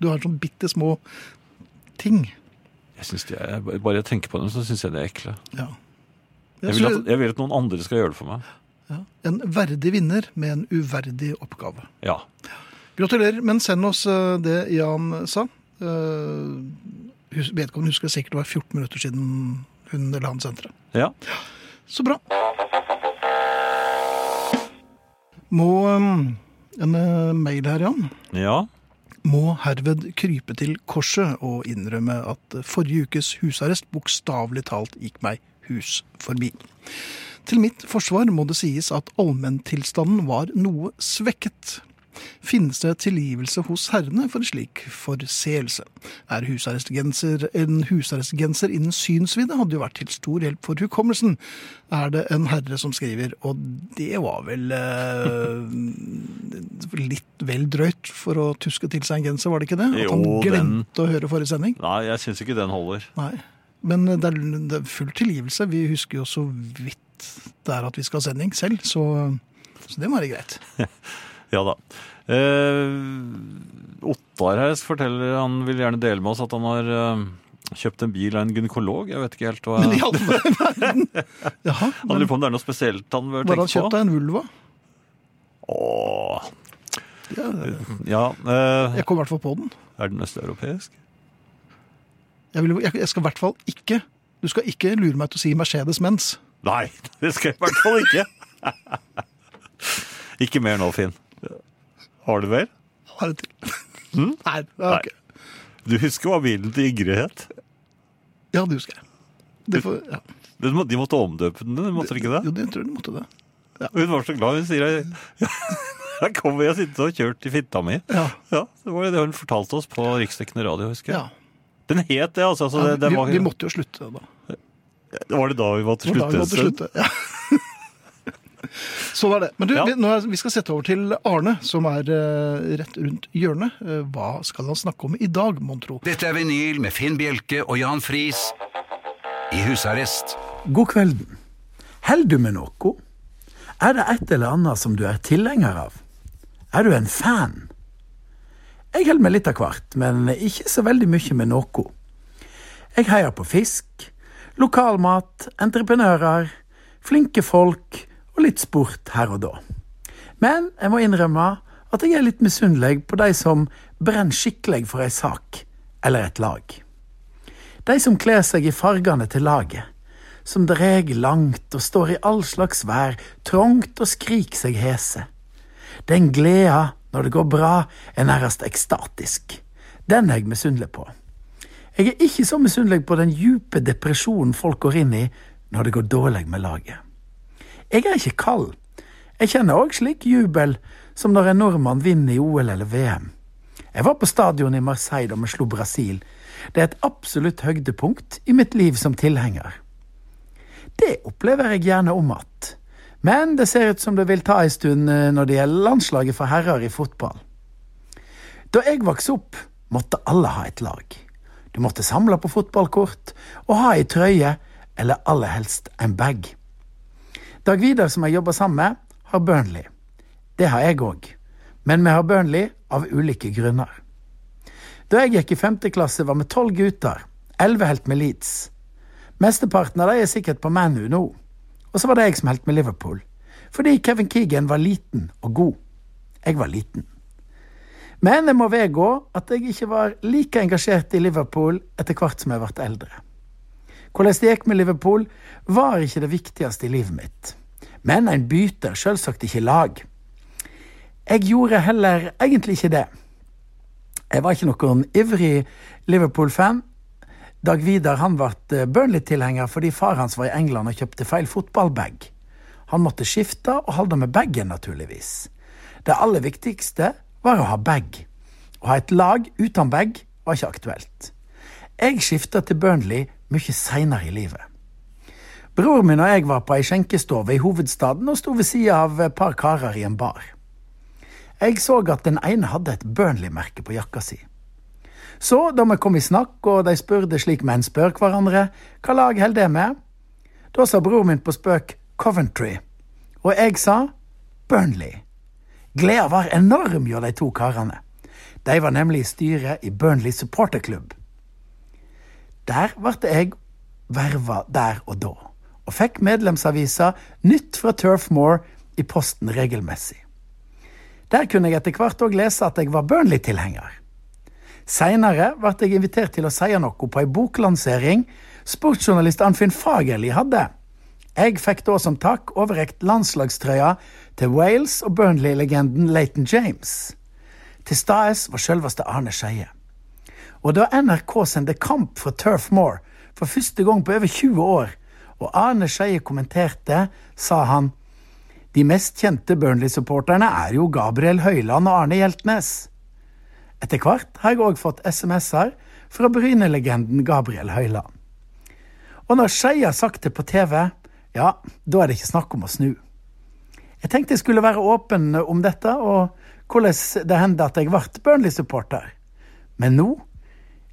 Speaker 2: Du har sånn bitte små ting.
Speaker 3: Jeg synes de er, bare jeg tenker på dem, så syns jeg de er ekle.
Speaker 2: Ja.
Speaker 3: Jeg vil, at, jeg vil at noen andre skal gjøre det for meg.
Speaker 2: ja. En verdig vinner med en uverdig oppgave.
Speaker 3: Ja.
Speaker 2: Gratulerer, men send oss eh, det Jan sa. Eh, hus- Vedkommende husker sikkert det var 14 minutter siden hun eller han sendte det.
Speaker 3: ja.
Speaker 2: Så bra. Må um, En eh, mail her, Jan.
Speaker 3: Ja.
Speaker 2: Må herved krype til korset og innrømme at forrige ukes husarrest bokstavelig talt gikk meg hus forbi. Til mitt forsvar må det sies at allmenntilstanden var noe svekket. Finnes det tilgivelse hos herrene for en slik forseelse? Er husarrestgenser en husarrestgenser innen synsvidde hadde jo vært til stor hjelp for hukommelsen, er det en herre som skriver, og det var vel eh, (laughs) litt vel drøyt for å tuske til seg en genser, var det ikke det? At han
Speaker 3: Jo, den-
Speaker 2: glemte å høre forrige sending?
Speaker 3: Nei, jeg syns ikke den holder.
Speaker 2: Nei. Men det er, det er full tilgivelse. Vi husker jo så vidt det er at vi skal ha sending selv, så, så det må være greit.
Speaker 3: Ja da. Eh, Ottar her forteller han vil gjerne dele med oss at han har eh, kjøpt en bil av en gynekolog. Jeg vet ikke helt hva
Speaker 2: Men i alle verden Jaha.
Speaker 3: Han
Speaker 2: Men,
Speaker 3: lurer på om det er noe spesielt han bør
Speaker 2: var han
Speaker 3: tenke
Speaker 2: kjøpt
Speaker 3: på.
Speaker 2: av en vulva?
Speaker 3: Åh,
Speaker 2: Ja,
Speaker 3: ja, eh,
Speaker 2: jeg kom i hvert fall på den.
Speaker 3: er den østeuropeisk?
Speaker 2: Jeg, vil, jeg, jeg skal i hvert fall ikke Du skal ikke lure meg til å si Mercedes-Mens.
Speaker 3: Nei, (laughs) det skal jeg i hvert fall ikke. (laughs) ikke mer nå, Finn. Har du mer?
Speaker 2: Ha det til.
Speaker 3: Hm?
Speaker 2: (laughs) Nei, det er ok.
Speaker 3: Du husker hva bilen til Ingrid het?
Speaker 2: Ja, det husker jeg. Det får, ja.
Speaker 3: De må- de måtte omdøpe den, de måtte de ikke det?
Speaker 2: Jo, det tror jeg du måtte det.
Speaker 3: Hun var så glad, hun sier jeg (laughs) Her kommer jeg sittende og kjørt i fitta mi.
Speaker 2: Ja.
Speaker 3: Ja, Det var jo det hun fortalte oss på riksdekkende radio, husker
Speaker 2: ja.
Speaker 3: jeg. Den het det, altså. Så det, det
Speaker 2: vi,
Speaker 3: var,
Speaker 2: vi måtte jo slutte da.
Speaker 3: var det da vi måtte
Speaker 2: Det var da vi
Speaker 3: slutte? en
Speaker 2: måtte
Speaker 3: stund?
Speaker 2: slutte. Ja. (laughs) Sånn er det. Men du,
Speaker 3: Ja.
Speaker 2: vi, nå er, vi skal sette over til Arne, som er eh, rett rundt hjørnet. Eh, hva skal han snakke om i dag, mon tro?
Speaker 1: Dette er vinyl med Finn Bjelke og Jan Friis i husarrest.
Speaker 5: God kvelden. Held du med noe? Er det et eller annet som du er tilhenger av? Er du en fan? Jeg holder meg litt av hvert, men ikke så veldig mye med noe. Jeg heier på fisk, lokalmat, entreprenører, flinke folk og litt sport her og da. Men jeg må innrømme at jeg er litt misunnelig på de som brenner skikkelig for ei sak eller et lag. De som kler seg i fargene til laget. Som dreg langt og står i all slags vær, trangt og skrik seg hese. Den gleda når det går bra, er nærmest ekstatisk. Den er jeg misunnelig på. Jeg er ikke så misunnelig på den djupe depresjonen folk går inn i når det går dårlig med laget. Jeg er ikke kald. Jeg kjenner òg slik jubel som når en nordmann vinner i OL eller VM. Jeg var på stadion i Marseille da vi slo Brasil. Det er et absolutt høydepunkt i mitt liv som tilhenger. Det opplever jeg gjerne om att. Men det ser ut som det vil ta ei stund eh, når det gjelder landslaget for herrer i fotball. Da jeg vokste opp, måtte alle ha et lag. Du måtte samle på fotballkort og ha ei trøye, eller aller helst en bag. Dag Vidar, som jeg jobber sammen med, har Burnley. Det har jeg òg. Men vi har Burnley av ulike grunner. Da jeg gikk i femte klasse, var vi tolv gutter. Elleve helt med Leeds. Mesteparten av de er sikkert på ManU nå. Og så var det jeg som helt med Liverpool. Fordi Kevin Keegan var liten og god. Jeg var liten. Men jeg må vedgå at jeg ikke var like engasjert i Liverpool etter hvert som jeg ble eldre. Hvordan det gikk med Liverpool, var ikke det viktigste i livet mitt. Men en bytter selvsagt ikke lag. Jeg gjorde heller egentlig ikke det. Jeg var ikke noen ivrig Liverpool-fan. Dag Vidar han ble eh, Burnley-tilhenger fordi far hans var i England og kjøpte feil fotballbag. Han måtte skifte og holde med bagen, naturligvis. Det aller viktigste var å ha bag. Å ha et lag uten bag var ikke aktuelt. Jeg skifta til Burnley mye seinere i livet. Bror min og jeg var på ei skjenkestove i hovedstaden og sto ved sida av et par karer i en bar. Jeg så at den ene hadde et Burnley-merke på jakka si. Så, da vi kom i snakk, og de spurte slik menn spør hverandre, hva lag holder det med? Da sa bror min på spøk Coventry, og jeg sa Burnley. Gleda var enorm hjå de to karene. De var nemlig i styret i Burnley supporterklubb. Der ble jeg verva der og da, og fikk medlemsavisa Nytt fra Turfmore i posten regelmessig. Der kunne jeg etter hvert òg lese at jeg var Burnley-tilhenger. Seinere ble jeg invitert til å si noe på ei boklansering sportsjournalist Anfinn Fagerli hadde. Jeg fikk da som takk overrekt landslagstrøya til Wales og Burnley-legenden Leighton James. Til stades var sjølveste Arne Skeie. Og da NRK sendte kamp for Turf Moor for første gang på over 20 år, og Arne Skeie kommenterte, sa han de mest kjente Burnley-supporterne er jo Gabriel Høyland og Arne Hjeltnes. Etter hvert har jeg òg fått SMS-er fra Bryne-legenden Gabriel Høyland. Og når Skeie har sagt det på TV, ja, da er det ikke snakk om å snu. Jeg tenkte jeg skulle være åpen om dette, og hvordan det hendte at jeg ble Burnley-supporter. Men nå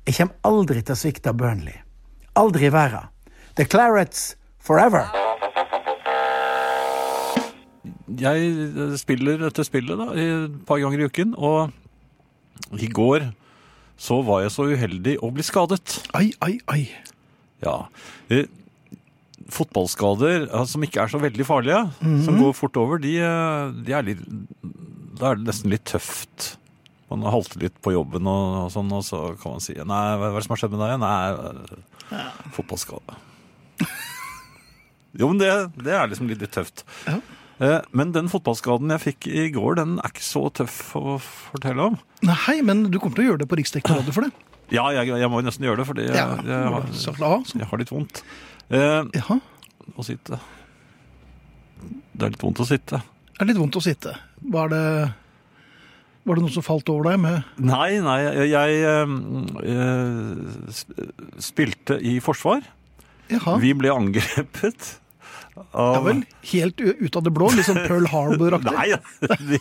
Speaker 5: jeg kommer aldri til å svikte Burnley. Aldri i verden. The Clarets forever!
Speaker 3: Jeg eh, spiller dette spillet da, i- et par ganger i uken, og i går så var jeg så uheldig å bli skadet.
Speaker 2: Ai, ai, ai.
Speaker 3: Ja. Eh, Fotballskader eh, som ikke er så veldig farlige,
Speaker 2: Mhm.
Speaker 3: som går fort over, de, eh, de er litt Da er det nesten litt tøft. Man har haltet litt på jobben og, og sånn, og så kan man si Nei, hva er det som har skjedd med deg? Nei, eh, fotballskade. jo, men det, det er liksom litt, litt tøft.
Speaker 2: Ja.
Speaker 3: Eh, Men den fotballskaden jeg fikk i går, den er ikke så tøff å fortelle om.
Speaker 2: Nei, men du kommer til å gjøre det på Riksdekkende radio for det.
Speaker 3: Ja, jeg, jeg må jo nesten gjøre det, fordi jeg,
Speaker 2: Ja,
Speaker 3: jeg, har,
Speaker 2: Slapp av. så-
Speaker 3: jeg har litt vondt. Eh,
Speaker 2: Ja,
Speaker 3: å sitte. Det er litt vondt å sitte.
Speaker 2: det er litt vondt å sitte. Var det, var det noe som falt over deg med
Speaker 3: Nei, nei, jeg, jeg eh, eh, sp- spilte i forsvar.
Speaker 2: Jaha.
Speaker 3: Vi ble angrepet
Speaker 2: Ja
Speaker 3: av
Speaker 2: vel. Helt u- ut av det blå? Litt sånn Pearl Harbor-aktig?
Speaker 3: (laughs) Nei, de,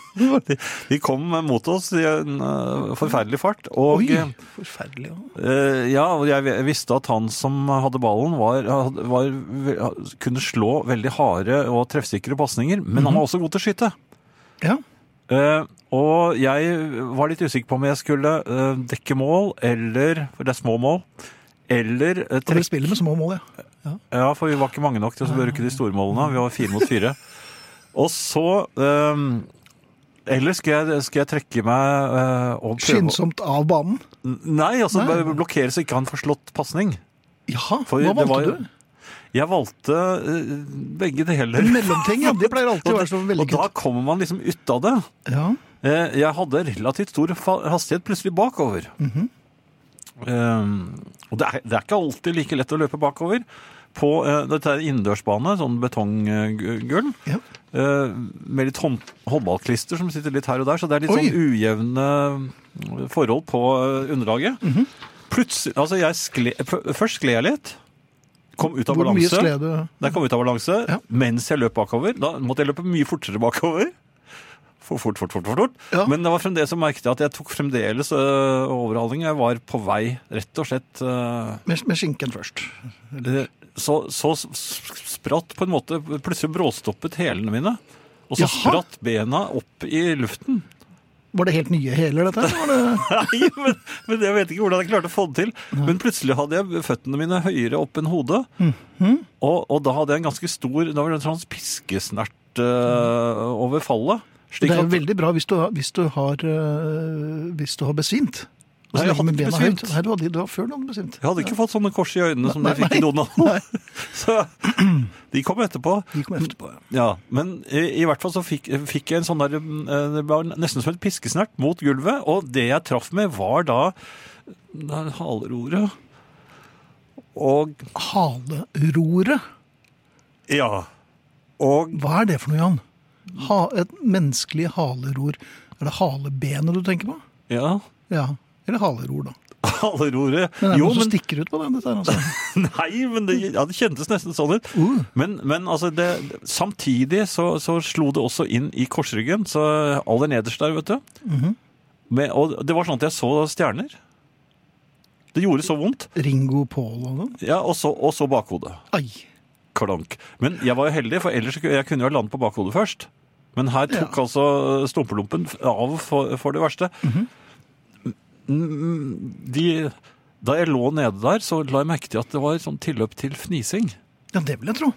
Speaker 3: de, de kom mot oss i en eh, forferdelig fart. Og eh,
Speaker 2: Oi, forferdelig. ja.
Speaker 3: Eh, ja, og jeg vi- visste at han som hadde ballen var, had- var, ve- kunne slå veldig harde og treffsikre pasninger, men
Speaker 2: Mhm.
Speaker 3: han var også god til å skyte.
Speaker 2: Ja.
Speaker 3: Eh, og jeg var litt usikker på om jeg skulle eh, dekke mål, eller For det er små mål. Eller eh,
Speaker 2: Og dere
Speaker 3: trekke
Speaker 2: spiller med små mål, ja.
Speaker 3: Ja, for vi var ikke mange nok til å bruke de store målene. Vi var fire mot
Speaker 2: (laughs)
Speaker 3: fire. Og så eh, Eller skal jeg, skal jeg trekke meg eh, og prøve å-
Speaker 2: Skyndsomt av banen.
Speaker 3: Nei, altså
Speaker 2: Nei.
Speaker 3: blokkere så ikke han får slått pasning.
Speaker 2: Jaha,
Speaker 3: For
Speaker 2: hva
Speaker 3: det
Speaker 2: valgte
Speaker 3: var-
Speaker 2: du?
Speaker 3: Jeg valgte eh, begge deler.
Speaker 2: Mellomting, ja. Det pleier alltid å være så
Speaker 3: (laughs) Og da
Speaker 2: vellykket.
Speaker 3: kommer man liksom ut av det.
Speaker 2: Ja.
Speaker 3: Eh, Jeg hadde relativt stor fa- hastighet plutselig bakover.
Speaker 2: Mhm.
Speaker 3: Eh, Og det er, det er ikke alltid like lett å løpe bakover. På eh, dette er innendørsbane, sånn betonggulv,
Speaker 2: ja.
Speaker 3: eh, med litt hånd, håndballklister som sitter litt her og der, så det er litt
Speaker 2: Oi.
Speaker 3: sånn ujevne forhold på eh, underlaget.
Speaker 2: Mhm.
Speaker 3: Plutselig, altså jeg skle, f- Først skled jeg litt, kom ut av
Speaker 2: Hvor mye
Speaker 3: balanse.
Speaker 2: skled du?
Speaker 3: Da jeg kom ut av balanse,
Speaker 2: Ja.
Speaker 3: mens jeg løp bakover, da måtte jeg løpe mye fortere bakover. For fort, fort, fort, fort, fort.
Speaker 2: Ja.
Speaker 3: Men det var fremdeles så merket jeg at jeg tok fremdeles øh, overhaling. Jeg var på vei, rett og slett. øh,
Speaker 2: Med, med skinken først.
Speaker 3: øh, så, så s- s- spratt på en måte, plutselig bråstoppet hælene mine. Og så
Speaker 2: Jaha.
Speaker 3: spratt bena opp i luften.
Speaker 2: Var det helt nye hæler, dette? eller Var det...
Speaker 3: (laughs) Nei, men, men jeg vet ikke hvordan jeg klarte å få det til. Men plutselig hadde jeg føttene mine høyere opp enn hodet.
Speaker 2: Mhm.
Speaker 3: og, og da hadde jeg en ganske stor Da var det en sånn piskesnert eh, over fallet. Slik
Speaker 2: det er jo
Speaker 3: at-
Speaker 2: veldig bra hvis du, har- hvis du, har, øh, hvis du har besvimt. Og så
Speaker 3: Nei, jeg
Speaker 2: legger
Speaker 3: hadde
Speaker 2: man
Speaker 3: ikke
Speaker 2: bena høyt.
Speaker 3: besvimt.
Speaker 2: Nei, du hadde, det var før du hadde besvimt.
Speaker 3: jeg hadde ikke fått sånne kors i øynene som
Speaker 2: Nei,
Speaker 3: jeg fikk i
Speaker 2: (laughs)
Speaker 3: Donald. (laughs) Så de kom etterpå.
Speaker 2: De kom etterpå, ja.
Speaker 3: Ja, Men i, i hvert fall så fikk, fikk jeg en sånn der eh, Det var nesten som et piskesnert mot gulvet, og det jeg traff med, var da det er haleroret. Og
Speaker 2: Haleroret.
Speaker 3: Ja. Og
Speaker 2: Hva er det for noe, Jan? Ha, et menneskelig haleror. Er det halebenet du tenker på?
Speaker 3: Ja.
Speaker 2: Ja. Eller haleror, da.
Speaker 3: Haleroret.
Speaker 2: Men det er
Speaker 3: Jo,
Speaker 2: noe som
Speaker 3: men
Speaker 2: stikker ut på den, dette her,
Speaker 3: (laughs)
Speaker 2: altså.
Speaker 3: Nei, men det, ja, det kjentes nesten sånn ut.
Speaker 2: Uh.
Speaker 3: Men, men altså, det, samtidig så, så slo det også inn i korsryggen. Så eh, aller nederst der, vet du.
Speaker 2: Mhm.
Speaker 3: Men- og det var sånn at jeg så stjerner. Det gjorde så vondt.
Speaker 2: Ringo Paul og noe.
Speaker 3: Ja, og så, og så bakhodet.
Speaker 2: Ai.
Speaker 3: Klank. Men jeg var jo heldig, for ellers kunne- jeg kunne jo ha landet på bakhodet først. Men her tok altså stumpelumpen av for, for det verste.
Speaker 2: Mhm.
Speaker 3: Mm, De, da jeg lå nede der, så la jeg merke til at det var sånn tilløp til fnising.
Speaker 2: Ja, det vil jeg tro.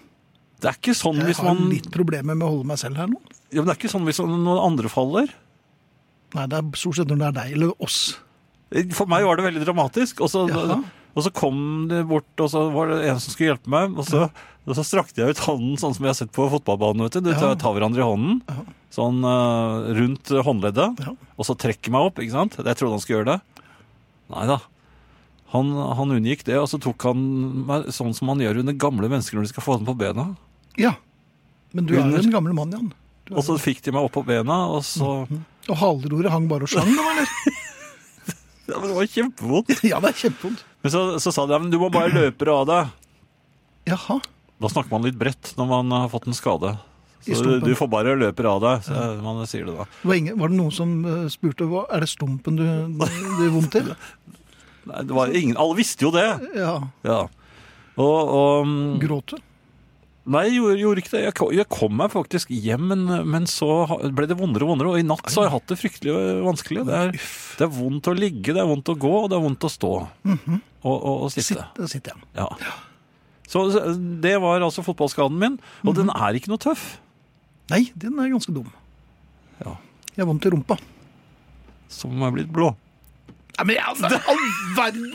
Speaker 3: Det er ikke sånn
Speaker 2: Jeg
Speaker 3: hvis
Speaker 2: har
Speaker 3: man
Speaker 2: litt problemer med å holde meg selv her nå.
Speaker 3: ja, men Det er ikke sånn hvis noen andre faller.
Speaker 2: Nei, det er stort sett når det er deg eller oss.
Speaker 3: For meg var det veldig dramatisk. Og så,
Speaker 2: Jaha.
Speaker 3: og så kom de bort, og så var det en som skulle hjelpe meg. Og så, og så strakte jeg ut hånden, sånn som jeg har sett på fotballbanen. vet du. Du
Speaker 2: Ja.
Speaker 3: tar, tar hverandre i hånden, sånn eh, rundt håndleddet.
Speaker 2: Ja.
Speaker 3: Og så trekker meg opp, ikke sant? Jeg trodde han skulle gjøre det. Nei da. Han, han unngikk det, og så tok han meg sånn som han gjør under gamle mennesker når de skal få dem på bena.
Speaker 2: Ja. Men du er
Speaker 3: Under-
Speaker 2: jo en gammel mann, Jan. Du er
Speaker 3: Og så fikk de meg opp på bena, og så
Speaker 2: jo- Og haleroret hang bare og slang, nå, eller?
Speaker 3: ja, men Det var kjempevondt.
Speaker 2: (laughs) Ja, det er kjempevondt.
Speaker 3: Men så, så sa de ja, men du må bare løpe det av deg.
Speaker 2: Jaha.
Speaker 3: Da snakker man litt bredt når man har fått en skade.
Speaker 2: I
Speaker 3: Så du,
Speaker 2: stumpen.
Speaker 3: du får bare løper av deg, så man sier det da.
Speaker 2: Det Var, ingen, var det noen som eh, spurte hva, er det stumpen du, du er vondt i? (laughs)
Speaker 3: Nei, det var ingen, alle visste jo det!
Speaker 2: Ja.
Speaker 3: Ja. Og, og mm,
Speaker 2: Gråt du?
Speaker 3: Nei, jeg gjorde, gjorde ikke det. Jeg kom, jeg kom meg faktisk hjem, men, men så ha- ble det vondere og vondere. Og i natt så har jeg hatt det fryktelig vanskelig. Det er, det er vondt å ligge, det er vondt å gå, og det er vondt å stå.
Speaker 2: Mhm.
Speaker 3: Og, og, og sitte.
Speaker 2: Sitt, der sitter jeg.
Speaker 3: Ja. Så så det var altså fotballskaden min. Og
Speaker 2: Mhm.
Speaker 3: den er ikke noe tøff.
Speaker 2: Nei, den er ganske dum.
Speaker 3: Ja.
Speaker 2: Jeg er vondt i rumpa.
Speaker 3: Som om jeg er blitt blå.
Speaker 2: Nei, men altså, (laughs) all verden!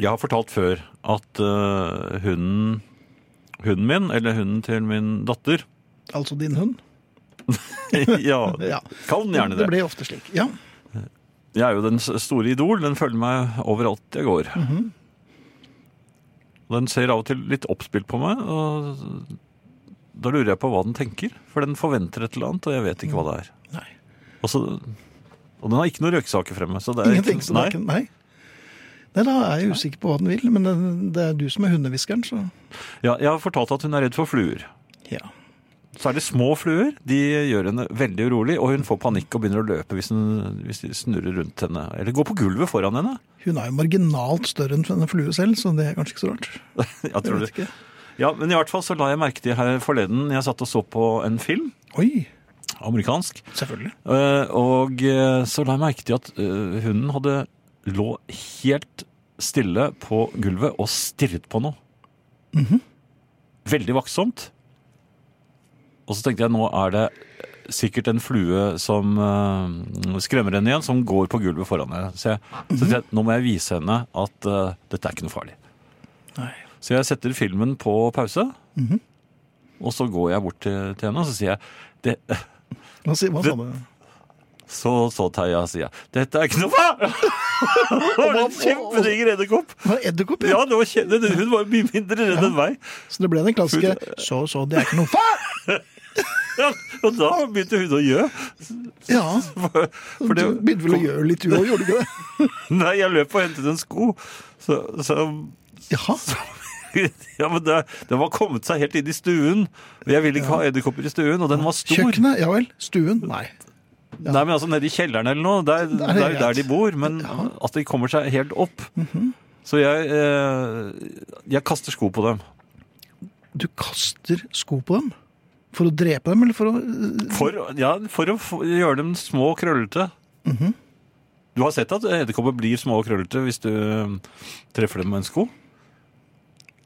Speaker 3: Jeg har fortalt før at eh, hunden, hunden min, eller hunden til min datter (laughs)
Speaker 2: Altså din hund.
Speaker 3: Ja,
Speaker 2: Ja.
Speaker 3: kall den gjerne
Speaker 2: Det
Speaker 3: det.
Speaker 2: ble ofte slik. Ja.
Speaker 3: Jeg er jo den s- store idol. Den følger meg overalt jeg går.
Speaker 2: Mhm.
Speaker 3: Den ser av og til litt oppspilt på meg, og da lurer jeg på hva den tenker. For den forventer et eller annet, og jeg vet ikke hva det er.
Speaker 2: Nei.
Speaker 3: Og, så, og den har ikke noen røyksaker fremme. Så det er
Speaker 2: Ingenting.
Speaker 3: Ikke,
Speaker 2: Så det
Speaker 3: nei,
Speaker 2: er ikke, nei. Nei, da er jeg usikker på hva den vil, men det, det er du som er hundehviskeren, så
Speaker 3: ja, jeg har fortalt at hun er redd for fluer.
Speaker 2: ja.
Speaker 3: Særlig små fluer. De gjør henne veldig urolig, og hun får panikk og begynner å løpe hvis, hun, hvis de snurrer rundt henne. Eller går på gulvet foran henne. (laughs)
Speaker 2: Hun er jo marginalt større enn en flue selv, så det er kanskje ikke så rart.
Speaker 3: Jeg
Speaker 2: Jeg
Speaker 3: tror
Speaker 2: vet
Speaker 3: det.
Speaker 2: ikke.
Speaker 3: Ja, men i hvert fall så la jeg merke til her forleden jeg satt og så på en film,
Speaker 2: Oi,
Speaker 3: amerikansk,
Speaker 2: selvfølgelig.
Speaker 3: eh, og eh, så la jeg merke til at eh, hunden hadde lå helt stille på gulvet og stirret på noe. Veldig vaktsomt. Og så tenkte jeg, nå er det sikkert en flue som eh, skremmer henne igjen, som går på gulvet foran henne. Så, jeg, så tenkte jeg, nå må jeg vise henne at eh, dette er ikke noe farlig.
Speaker 2: Nei.
Speaker 3: Så jeg setter filmen på pause, og så går jeg bort til, til henne og så sier jeg det,
Speaker 2: Hva, si- hva sa du?
Speaker 3: Så så Terje sier jeg, 'Dette er ikke noe
Speaker 2: (laughs)
Speaker 3: farlig!' Det var en kjempediger edderkopp.
Speaker 2: Hva, Edderkopp, ja.
Speaker 3: Ja, det var kje- det- hun var mye mindre redd enn meg.
Speaker 2: Så det ble den klassiske Så, så, det er ikke noe far!
Speaker 3: Ja, og da begynte hun å gjø.
Speaker 2: Ja.
Speaker 3: For, for
Speaker 2: Du
Speaker 3: det,
Speaker 2: begynte vel å gjøre litt du òg, gjorde du
Speaker 3: (laughs)
Speaker 2: ikke det?
Speaker 3: nei, jeg løp og hentet en sko. Så, så
Speaker 2: Jaha.
Speaker 3: ja, men det, Den var kommet seg helt inn i stuen. og Jeg ville ikke ha edderkopper i stuen, og den var stor.
Speaker 2: Kjøkkenet, ja vel. Stuen, nei.
Speaker 3: Nei, men altså nede i kjelleren eller noe, det er, det
Speaker 2: er
Speaker 3: er, jo
Speaker 2: greit. Mhm.
Speaker 3: der de bor, men at de kommer seg helt opp. Så jeg, eh, jeg kaster sko på dem.
Speaker 2: Du kaster sko på dem. For å drepe dem, eller for å
Speaker 3: For, ja, for å få- gjøre dem små og krøllete.
Speaker 2: Mhm.
Speaker 3: Du har sett at edderkopper blir små og krøllete hvis du eh, treffer dem med en sko?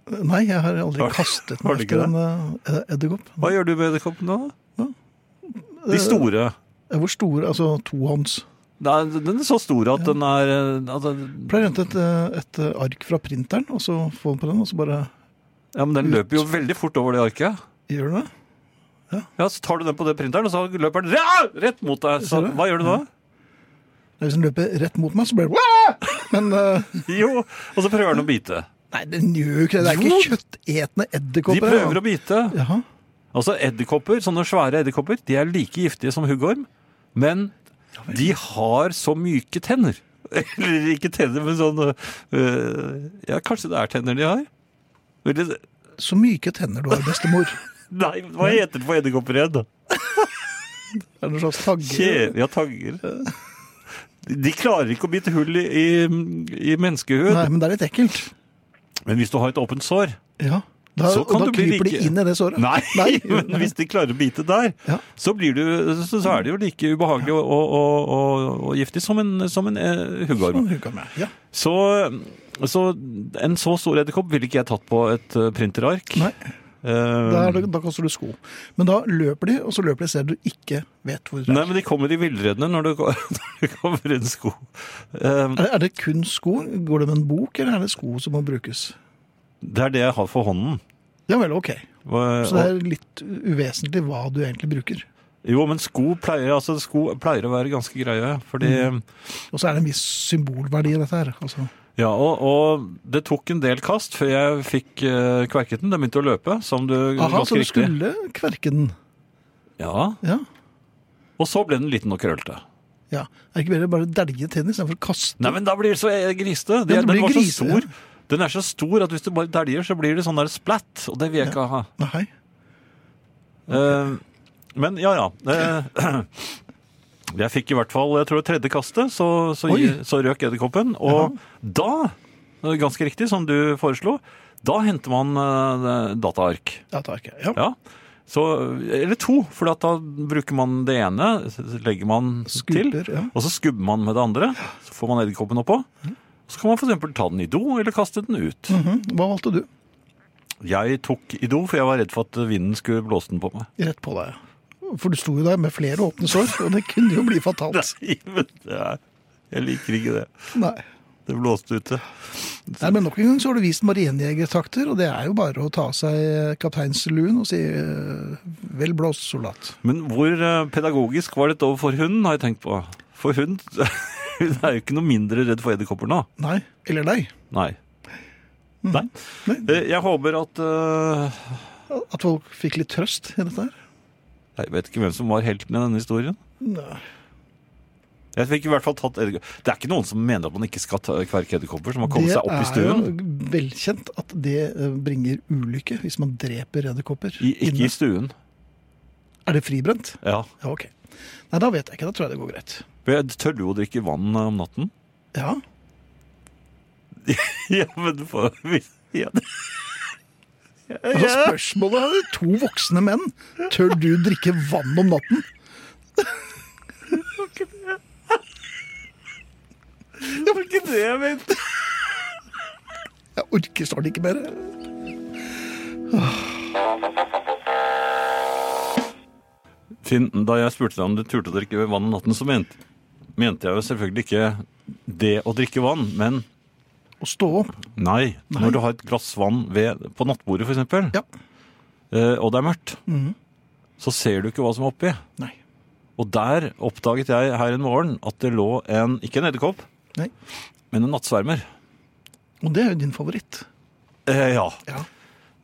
Speaker 2: Nei, jeg har aldri kastet
Speaker 3: har
Speaker 2: meg
Speaker 3: du
Speaker 2: etter
Speaker 3: ikke
Speaker 2: en eh, edderkopp.
Speaker 3: Hva gjør du med edderkoppene da? De store.
Speaker 2: Hvor store? Altså tohånds?
Speaker 3: Nei, den er så stor at den er eh, at den-
Speaker 2: Pleier å hente et, eh, et ark fra printeren, og så få den på den, og så bare
Speaker 3: Ja, men den løper jo veldig fort over det arket.
Speaker 2: gjør du det.
Speaker 3: Ja, Så tar du den på det printeren, og så løper den ra- rett mot deg.
Speaker 2: Ser
Speaker 3: Så,
Speaker 2: du?
Speaker 3: hva gjør du da?
Speaker 2: Hvis den løper liksom rett mot meg, så blir det Wah! Men eh,
Speaker 3: Jo, og så prøver den å bite.
Speaker 2: nei, den gjør jo ikke det. Det er ikke kjøttetende
Speaker 3: De
Speaker 2: edderkopper.
Speaker 3: prøver å bite.
Speaker 2: Jaha.
Speaker 3: Altså edderkopper, sånne svære edderkopper, de er like giftige som huggorm, men de har så myke tenner. (laughs) Eller ikke tenner, men sånn øh, Ja, kanskje det er tenner de har? Eller,
Speaker 2: Så myke tenner du har, bestemor.
Speaker 3: nei, hva heter det for edderkopper igjen? da?
Speaker 2: Det er noen slags tagger.
Speaker 3: Kje- Ja, tagger. De klarer ikke å bite hull i, i, i
Speaker 2: Nei,
Speaker 3: menneskehud.
Speaker 2: men det er litt ekkelt.
Speaker 3: Men hvis du har et åpent sår, (laughs)
Speaker 2: Ja. Da,
Speaker 3: Så kan
Speaker 2: og da
Speaker 3: du bli
Speaker 2: kryper de
Speaker 3: like-
Speaker 2: inn i det såret.
Speaker 3: Nei,
Speaker 2: Nei.
Speaker 3: (laughs) men hvis de klarer å bite der,
Speaker 2: Ja.
Speaker 3: så, blir du, så, så er det jo like ubehagelig og, og, og, og, og giftig som en, som en eh, huggorm.
Speaker 2: Sånn hugger han meg. Ja.
Speaker 3: Så, så en så stor edderkopp ville ikke jeg tatt på et eh, printerark.
Speaker 2: Nei,
Speaker 3: Eh,
Speaker 2: da, er det, da kaster du sko. Men da løper de, og så løper de selv du ikke vet hvor det
Speaker 3: Nei,
Speaker 2: er.
Speaker 3: men de kommer i villredene når det (laughs) når det kommer en sko. Eh,
Speaker 2: Er det, er det kun sko? Går det med en bok, eller er det sko som må brukes?
Speaker 3: Det er det jeg har for hånden.
Speaker 2: Ja vel, ok.
Speaker 3: Hva-
Speaker 2: Så det er litt uvesentlig hva du egentlig bruker.
Speaker 3: Jo, men sko pleier, altså, sko pleier å være ganske greie. Fordi,
Speaker 2: Mm. Og så er det en viss symbolverdi i dette her. Altså.
Speaker 3: ja, og, og det tok en del kast før jeg fikk eh, kverket den. Den begynte å løpe, som du
Speaker 2: Aha,
Speaker 3: ganske
Speaker 2: så du
Speaker 3: riktig.
Speaker 2: skulle kverke den.
Speaker 3: Ja,
Speaker 2: Ja.
Speaker 3: Og så ble den liten og krøllete.
Speaker 2: ja. Er det ikke bedre å bare delje tennis istedenfor å kaste?
Speaker 3: Nei, men da blir det så eh, grisete. Det-
Speaker 2: Ja, det blir
Speaker 3: den var
Speaker 2: grise,
Speaker 3: så stor. Den er så stor at hvis du bare deljer, så blir det sånn der splatt. Og det vil jeg ikke ha.
Speaker 2: Nei.
Speaker 3: Eh, men ja, ja. Eh, (clears throat) jeg fikk i hvert fall jeg tror det tredje kastet, så, så,
Speaker 2: Oi.
Speaker 3: så røk edderkoppen. Og da, eh, ganske riktig som du foreslo, da henter man eh, dataark.
Speaker 2: Ja, tar ikke. Ja.
Speaker 3: Ja. Så, eh, eller to, for at da bruker man det ene, så legger man
Speaker 2: Skulper,
Speaker 3: til,
Speaker 2: ja.
Speaker 3: og så skubber man med det andre. Så får man edderkoppen oppå. Så kan man f.eks. ta den i do, eller kaste den ut.
Speaker 2: Mhm. Hva valgte du?
Speaker 3: Jeg tok i do, for jeg var redd for at vinden skulle blåse den på meg. (laughs)
Speaker 2: Rett på deg. For du sto jo der med flere åpne sår, og det kunne jo bli fatalt.
Speaker 3: (laughs) Nei, men det er, jeg liker ikke det.
Speaker 2: Nei.
Speaker 3: Det blåste ute.
Speaker 2: Nei, men Nok en gang så har du vist marinejegertakter, og det er jo bare å ta av seg eh, kapteinsluen og si eh, 'vel blåst, soldat'.
Speaker 3: Men hvor eh, pedagogisk var dette overfor hunden, har jeg tenkt på. For hun, (laughs) hun er jo ikke noe mindre redd for edderkopper nå.
Speaker 2: Nei. Eller nei.
Speaker 3: Nei. Nei.
Speaker 2: Nei.
Speaker 3: Eh, Jeg håper at eh,
Speaker 2: At folk fikk litt trøst i dette her.
Speaker 3: Jeg vet ikke hvem som var helten i denne historien.
Speaker 2: Nei.
Speaker 3: Jeg fikk i hvert fall tatt edderkopper. Det er ikke noen som mener at man ikke skal ta- kverke edderkopper, som har
Speaker 2: Det
Speaker 3: kommet seg opp i
Speaker 2: er jo
Speaker 3: stuen.
Speaker 2: velkjent at det eh, bringer ulykke hvis man dreper edderkopper.
Speaker 3: I, ikke
Speaker 2: inne.
Speaker 3: i stuen.
Speaker 2: Er det fribrent?
Speaker 3: Ja.
Speaker 2: Ja, ok. Nei, da vet jeg ikke. Da tror jeg det går greit.
Speaker 3: For jeg tør jo å drikke vann eh, om natten. (laughs)
Speaker 2: Ja.
Speaker 3: Ja, men du får ja, det- (laughs)
Speaker 2: Altså, spørsmålet er det to voksne menn. Tør du drikke vann om natten?
Speaker 3: Det var ikke det jeg mente.
Speaker 2: Jeg orker snart ikke mer.
Speaker 3: Finn, da jeg spurte deg om du turte å drikke vann om natten, så mente, mente jeg jo selvfølgelig ikke det å drikke vann, men
Speaker 2: Å stå opp.
Speaker 3: nei, når du har et glass vann ved, på nattbordet f.eks., eksempel,
Speaker 2: Ja. Mhm.
Speaker 3: eh, og det er mørkt, så ser du ikke hva som er oppi.
Speaker 2: Nei.
Speaker 3: Og der oppdaget jeg her en morgen at det lå en, ikke en edderkopp,
Speaker 2: Nei.
Speaker 3: men en nattsvermer.
Speaker 2: Og det er jo din favoritt.
Speaker 3: Eh, ja.
Speaker 2: Ja.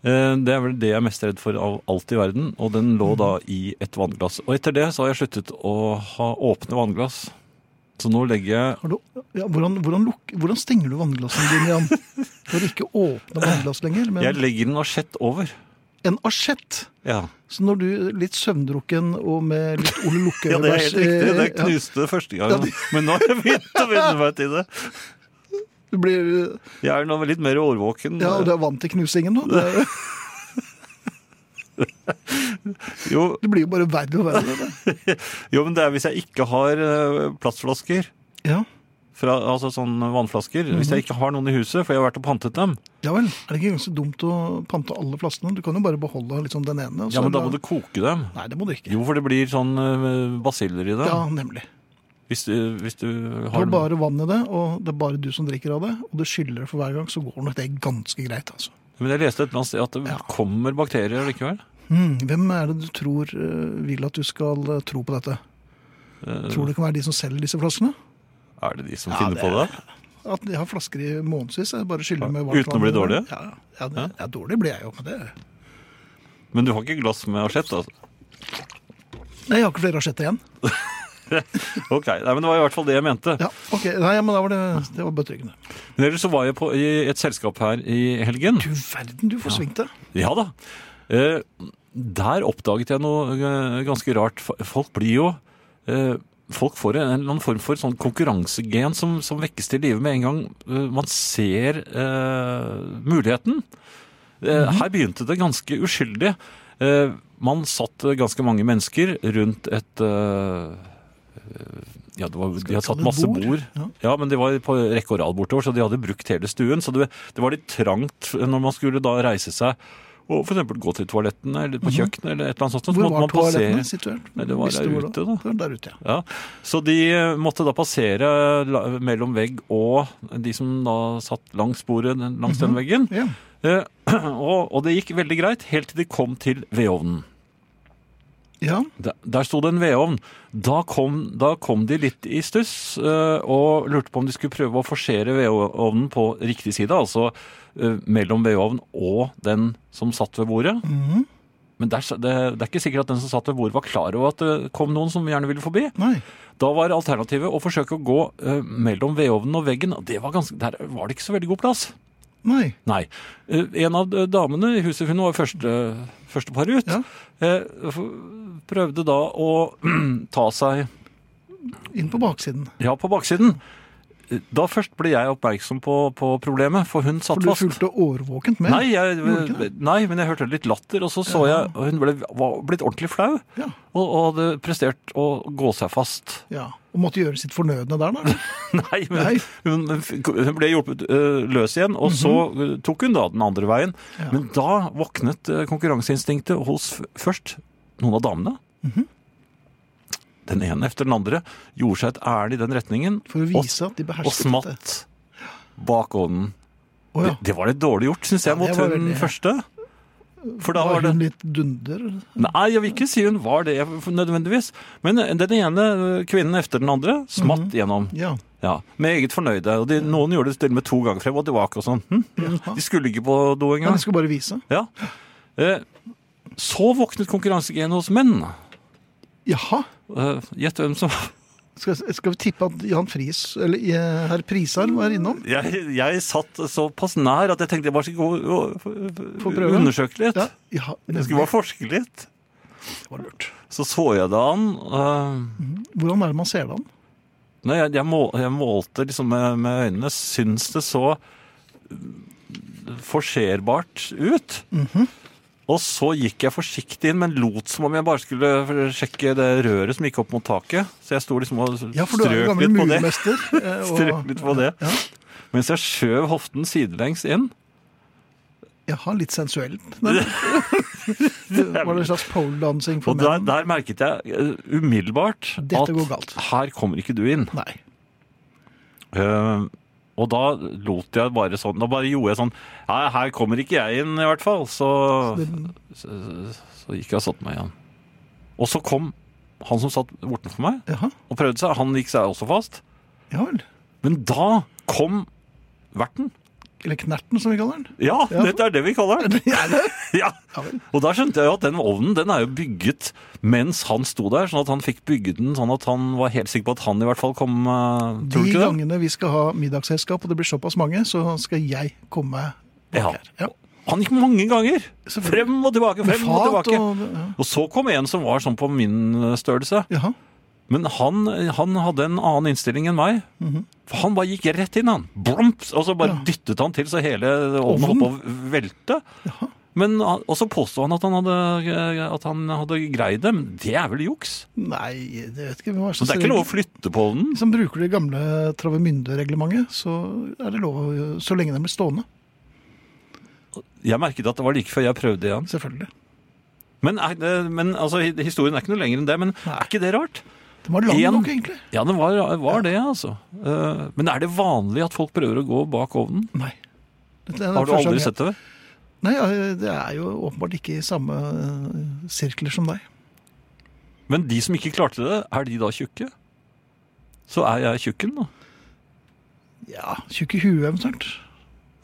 Speaker 3: Eh, Det er vel det jeg er mest redd for av alt i verden, og den
Speaker 2: Mm.
Speaker 3: lå da i et vannglass. Og etter det så har jeg sluttet å ha åpne vannglass. Så nå legger jeg
Speaker 2: Har du, ja, hvordan, hvordan, luk, hvordan stenger du vannglassene dine igjen? For ikke å åpne vannglass lenger, men
Speaker 3: Jeg legger en asjett over.
Speaker 2: en asjett.
Speaker 3: Ja,
Speaker 2: Så når du litt søvndrukken og med
Speaker 3: (laughs)
Speaker 2: litt Ole Lukkøy
Speaker 3: det er helt riktig. Det
Speaker 2: ja,
Speaker 3: knuste første gangen. Men nå har jeg begynt å venne meg til det.
Speaker 2: Du blir
Speaker 3: Jeg er nå litt mer årvåken.
Speaker 2: Ja, og du er vant til knusingen nå. Det,
Speaker 3: (laughs)
Speaker 2: er-
Speaker 3: Jo,
Speaker 2: det blir jo bare verre og verre. det.
Speaker 3: jo, men det er hvis jeg ikke har eh, plastflasker,
Speaker 2: Ja.
Speaker 3: fra, altså sånn vannflasker, hvis
Speaker 2: Mhm.
Speaker 3: jeg ikke har noen i huset, for jeg har vært og pantet dem,
Speaker 2: ja vel. Er det ikke ganske dumt å pante alle flaskene? Du kan jo bare beholde liksom den ene. og
Speaker 3: ja,
Speaker 2: så
Speaker 3: men da
Speaker 2: la-
Speaker 3: må du koke dem.
Speaker 2: Nei, det må du ikke.
Speaker 3: Jo, for det blir sånn eh, basiller i det.
Speaker 2: Ja, nemlig.
Speaker 3: Hvis, du- hvis du
Speaker 2: Du
Speaker 3: har
Speaker 2: har bare vann i det, og det er bare du som drikker av det. Og du skyller det for hver gang, så går nok det ganske greit. altså.
Speaker 3: Men jeg leste et eller annet sted at det
Speaker 2: Ja.
Speaker 3: kommer bakterier likevel.
Speaker 2: Hmm, hvem er det du tror eh, vil at du skal eh, tro på dette?
Speaker 3: Eh.
Speaker 2: Tror du det kan være de som selger disse flaskene?
Speaker 3: Er det de som
Speaker 2: Ja,
Speaker 3: finner
Speaker 2: det
Speaker 3: på det?
Speaker 2: At de har flasker i månedsvis? jeg Bare skyller
Speaker 3: Ja,
Speaker 2: med varmt
Speaker 3: uten å bli
Speaker 2: vann.
Speaker 3: dårlige?
Speaker 2: Ja, ja, det, ja, dårlig blir jeg jo. Men det...
Speaker 3: Men du har ikke glass med asjett, altså?
Speaker 2: Nei, jeg har ikke flere asjetter igjen.
Speaker 3: Ok, nei, men Det var i hvert fall det jeg mente.
Speaker 2: Ja, ok. Nei, men da var det, det var betryggende.
Speaker 3: Men ellers så var jeg på, i et selskap her i helgen.
Speaker 2: Du verden, du forsvingte.
Speaker 3: Ja da. Eh, der oppdaget jeg noe eh, ganske rart. F- Folk blir jo eh, Folk får en eller annen form for sånn konkurransegen som, som vekkes til live med en gang eh, man ser eh, muligheten. Eh, Her begynte det ganske uskyldig. Eh, Man satt eh, ganske mange mennesker rundt et eh, ja, det var, De hadde satt
Speaker 2: kalle det
Speaker 3: masse
Speaker 2: bord?
Speaker 3: bord.
Speaker 2: Ja.
Speaker 3: Ja, men de var på rekke og rad bortover, så de hadde brukt hele stuen. Så det, det var litt trangt når man skulle da reise seg og f.eks. gå til toalettene eller på kjøkkenet eller et eller annet sånt. Så
Speaker 2: Mhm. Hvor
Speaker 3: måtte
Speaker 2: var
Speaker 3: man passere-
Speaker 2: toalettene situert?
Speaker 3: Nei, det var
Speaker 2: Visste
Speaker 3: der
Speaker 2: du hvor det
Speaker 3: ute,
Speaker 2: var?
Speaker 3: da.
Speaker 2: Det var der ute, ja.
Speaker 3: Ja, Så de eh, måtte da passere la- mellom vegg og de som da satt langs bordet den- langs den veggen.
Speaker 2: ja.
Speaker 3: Eh, (clears throat) og, og det gikk veldig greit helt til de kom til vedovnen.
Speaker 2: Ja,
Speaker 3: Der, der sto det en vedovn. Da kom, da kom de litt i stuss eh, og lurte på om de skulle prøve å forsere vedovnen på riktig side, altså eh, mellom vedovnen og den som satt ved bordet. Men der, sa- det, det er ikke sikkert at den som satt ved bordet var klar over at det kom noen som gjerne ville forbi.
Speaker 2: nei.
Speaker 3: Da var alternativet å forsøke å gå eh, mellom vedovnen og veggen. og Det var ganske, der var det ikke så veldig god plass.
Speaker 2: Nei.
Speaker 3: Nei. Eh, en av eh, damene i huset, hun var første, første par ut,
Speaker 2: Ja.
Speaker 3: eh, f- prøvde da å (clears throat) ta seg
Speaker 2: Inn på baksiden.
Speaker 3: ja på baksiden. Eh, Da først ble jeg oppmerksom på, på problemet, for hun satt
Speaker 2: For du
Speaker 3: fast.
Speaker 2: fulgte årvåkent med.
Speaker 3: Nei, jeg,
Speaker 2: Gjorde du ikke det?
Speaker 3: nei, men jeg hørte litt latter, og så så jeg og Hun ble, var blitt ordentlig flau
Speaker 2: Ja.
Speaker 3: og, og hadde prestert å gå seg fast.
Speaker 2: ja. Og måtte gjøre sitt fornødne der, da.
Speaker 3: Nei, men
Speaker 2: Nei.
Speaker 3: Hun, hun ble hjulpet ø, løs igjen, og så ø, tok hun da den andre veien.
Speaker 2: Mhm. Ja.
Speaker 3: Men da våknet ø, konkurranseinstinktet hos f- først noen av damene.
Speaker 2: Mhm.
Speaker 3: Den ene efter den andre gjorde seg et ærend i den retningen
Speaker 2: For å
Speaker 3: og,
Speaker 2: vise at de
Speaker 3: og
Speaker 2: behersket dette.
Speaker 3: smatt bak ånden.
Speaker 2: Å ja.
Speaker 3: Det, det var litt dårlig gjort, syns jeg,
Speaker 2: Ja, det
Speaker 3: mot
Speaker 2: var
Speaker 3: hun
Speaker 2: veldig-
Speaker 3: første. For da var
Speaker 2: Var
Speaker 3: det
Speaker 2: hun litt dunder?
Speaker 3: Nei, jeg vil ikke si hun var det nødvendigvis. Men den ene ø, kvinnen efter den andre smatt
Speaker 2: Mhm.
Speaker 3: gjennom.
Speaker 2: Ja.
Speaker 3: Ja, Med eget fornøyde. og de, Noen gjorde det til og med to ganger frem og tilbake. og sånn. Hm, hm.
Speaker 2: Jaha.
Speaker 3: De skulle ikke på do
Speaker 2: Men
Speaker 3: engang.
Speaker 2: jeg skulle bare vise.
Speaker 3: Ja. Eh, så våknet konkurransegenet hos menn.
Speaker 2: Jaha.
Speaker 3: Eh, Gjett hvem som
Speaker 2: Skal, skal vi tippe at Jan Friis, eller eh, herr Prisheim, var innom?
Speaker 3: jeg, jeg satt såpass nær at jeg tenkte jeg bare skulle gå og- og
Speaker 2: Få prøve.
Speaker 3: undersøke litt.
Speaker 2: Ja, ja
Speaker 3: Jeg skulle bare forske litt.
Speaker 2: det var lurt.
Speaker 3: Så så jeg det an. eh,
Speaker 2: Hvordan er det man ser det an?
Speaker 3: Nei, jeg, jeg, må, jeg målte liksom med, med øynene. Syns det så eh, forserbart ut?
Speaker 2: Mhm.
Speaker 3: Og så gikk jeg forsiktig inn, men lot som om jeg bare skulle sjekke det røret som gikk opp mot taket. Så jeg sto liksom og
Speaker 2: Ja, for du er jo
Speaker 3: strøk
Speaker 2: gammel
Speaker 3: litt på (laughs) det.
Speaker 2: murmester. eh, og-
Speaker 3: Strøk litt på det.
Speaker 2: Ja.
Speaker 3: Mens jeg skjøv hoften sidelengs inn.
Speaker 2: Jaha, litt
Speaker 3: (laughs)
Speaker 2: sensuelt. Nei, var det en slags pole-dancing for
Speaker 3: Og der,
Speaker 2: menn?
Speaker 3: der merket jeg eh, umiddelbart
Speaker 2: Dette går
Speaker 3: at
Speaker 2: galt.
Speaker 3: her kommer ikke du inn.
Speaker 2: Nei.
Speaker 3: Eh, og da lot jeg bare sånn, da bare gjorde jeg sånn Nei, her kommer ikke jeg inn i hvert fall. Så,
Speaker 2: Det-
Speaker 3: så, så gikk jeg og satte meg igjen. Og så kom han som satt bortenfor meg
Speaker 2: Jaha,
Speaker 3: og prøvde seg. Han gikk seg også fast.
Speaker 2: ja vel.
Speaker 3: Men da kom verten.
Speaker 2: Eller Knerten, som vi kaller
Speaker 3: (laughs)
Speaker 2: den.
Speaker 3: Ja,
Speaker 2: Ja.
Speaker 3: dette er det vi
Speaker 2: (laughs)
Speaker 3: kaller den. Ja.
Speaker 2: Ja vel.
Speaker 3: Og da skjønte jeg jo at den ovnen den er jo bygget mens han sto der, sånn at han fikk bygge den sånn at han var helt sikker på at han i hvert fall kom eh, Tror
Speaker 2: De
Speaker 3: du ikke det?
Speaker 2: gangene vi skal ha middagsselskap, og det blir såpass mange, så skal jeg komme meg bak
Speaker 3: Ja.
Speaker 2: her. Ja.
Speaker 3: Han gikk mange ganger.
Speaker 2: Selvfølgelig.
Speaker 3: Frem og tilbake,
Speaker 2: Med
Speaker 3: frem og
Speaker 2: fat
Speaker 3: tilbake.
Speaker 2: og ja.
Speaker 3: Og så kom en som var sånn på min størrelse.
Speaker 2: Jaha.
Speaker 3: Men han, han hadde en annen innstilling enn meg. For han bare gikk rett inn, han. Blomps! Og så bare
Speaker 2: Mhm. Ja.
Speaker 3: dyttet han til så hele ovnen
Speaker 2: Ovnen?
Speaker 3: holdt på å velte. Men, han- og så påstod han at han hadde, eh, at han hadde greid det. Men det er vel juks?
Speaker 2: Nei, det vet ikke hva
Speaker 3: Så det er ikke lov å flytte på ovnen?
Speaker 2: Hvis man bruker det gamle travemynde-reglementet, så er det lov å- så lenge den blir stående.
Speaker 3: Jeg merket at det var like før jeg prøvde igjen.
Speaker 2: Selvfølgelig.
Speaker 3: Men, er, det- men altså, historien er ikke noe lenger enn det. Men er ikke det rart?
Speaker 2: Den var lang
Speaker 3: En-
Speaker 2: nok, egentlig.
Speaker 3: Ja, det var, var det, altså. Eh, Men er det vanlig at folk prøver å gå bak ovnen?
Speaker 2: Nei. Dette er den
Speaker 3: Har du
Speaker 2: første gang
Speaker 3: aldri
Speaker 2: jeg-
Speaker 3: sett det?
Speaker 2: Nei, ja, det er jo åpenbart ikke i samme eh, sirkler som deg.
Speaker 3: Men de som ikke klarte det, er de da tjukke? Så er jeg tjukken, da.
Speaker 2: Ja, Tjukk i huet eventuelt.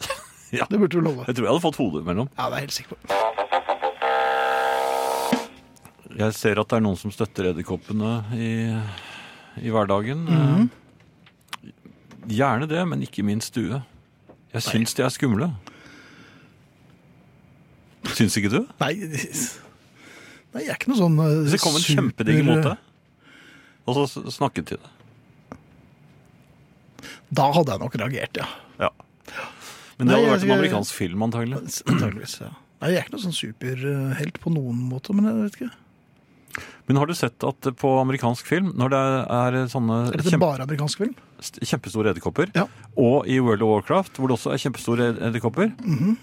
Speaker 3: (laughs) Ja.
Speaker 2: Det burde du love.
Speaker 3: Jeg tror jeg hadde fått hodet imellom.
Speaker 2: Ja, det er jeg helt sikker på.
Speaker 3: Jeg ser at det er noen som støtter edderkoppene i, i hverdagen.
Speaker 2: Mhm.
Speaker 3: Eh, Gjerne det, men ikke i min stue. Jeg syns de er skumle. Syns ikke du?
Speaker 2: Nei, nei, jeg er ikke noe sånn eh,
Speaker 3: Hvis det kom en
Speaker 2: super-
Speaker 3: kjempedigg mot deg, og så s- snakket de det.
Speaker 2: Da hadde jeg nok reagert, ja.
Speaker 3: Ja. Men det
Speaker 2: Nei,
Speaker 3: hadde
Speaker 2: jeg
Speaker 3: vært en
Speaker 2: skal-
Speaker 3: amerikansk film, antagelig.
Speaker 2: Antakeligvis. Ja. Nei, jeg er ikke noen sånn superhelt på noen måte, men jeg vet ikke.
Speaker 3: Men har du sett at på amerikansk film, når det er sånne
Speaker 2: Er dette
Speaker 3: kjempe,
Speaker 2: bare amerikansk film?
Speaker 3: st- kjempestore edderkopper,
Speaker 2: Ja.
Speaker 3: og i World of Warcraft, hvor det også er kjempestore ed- edderkopper,
Speaker 2: Mhm.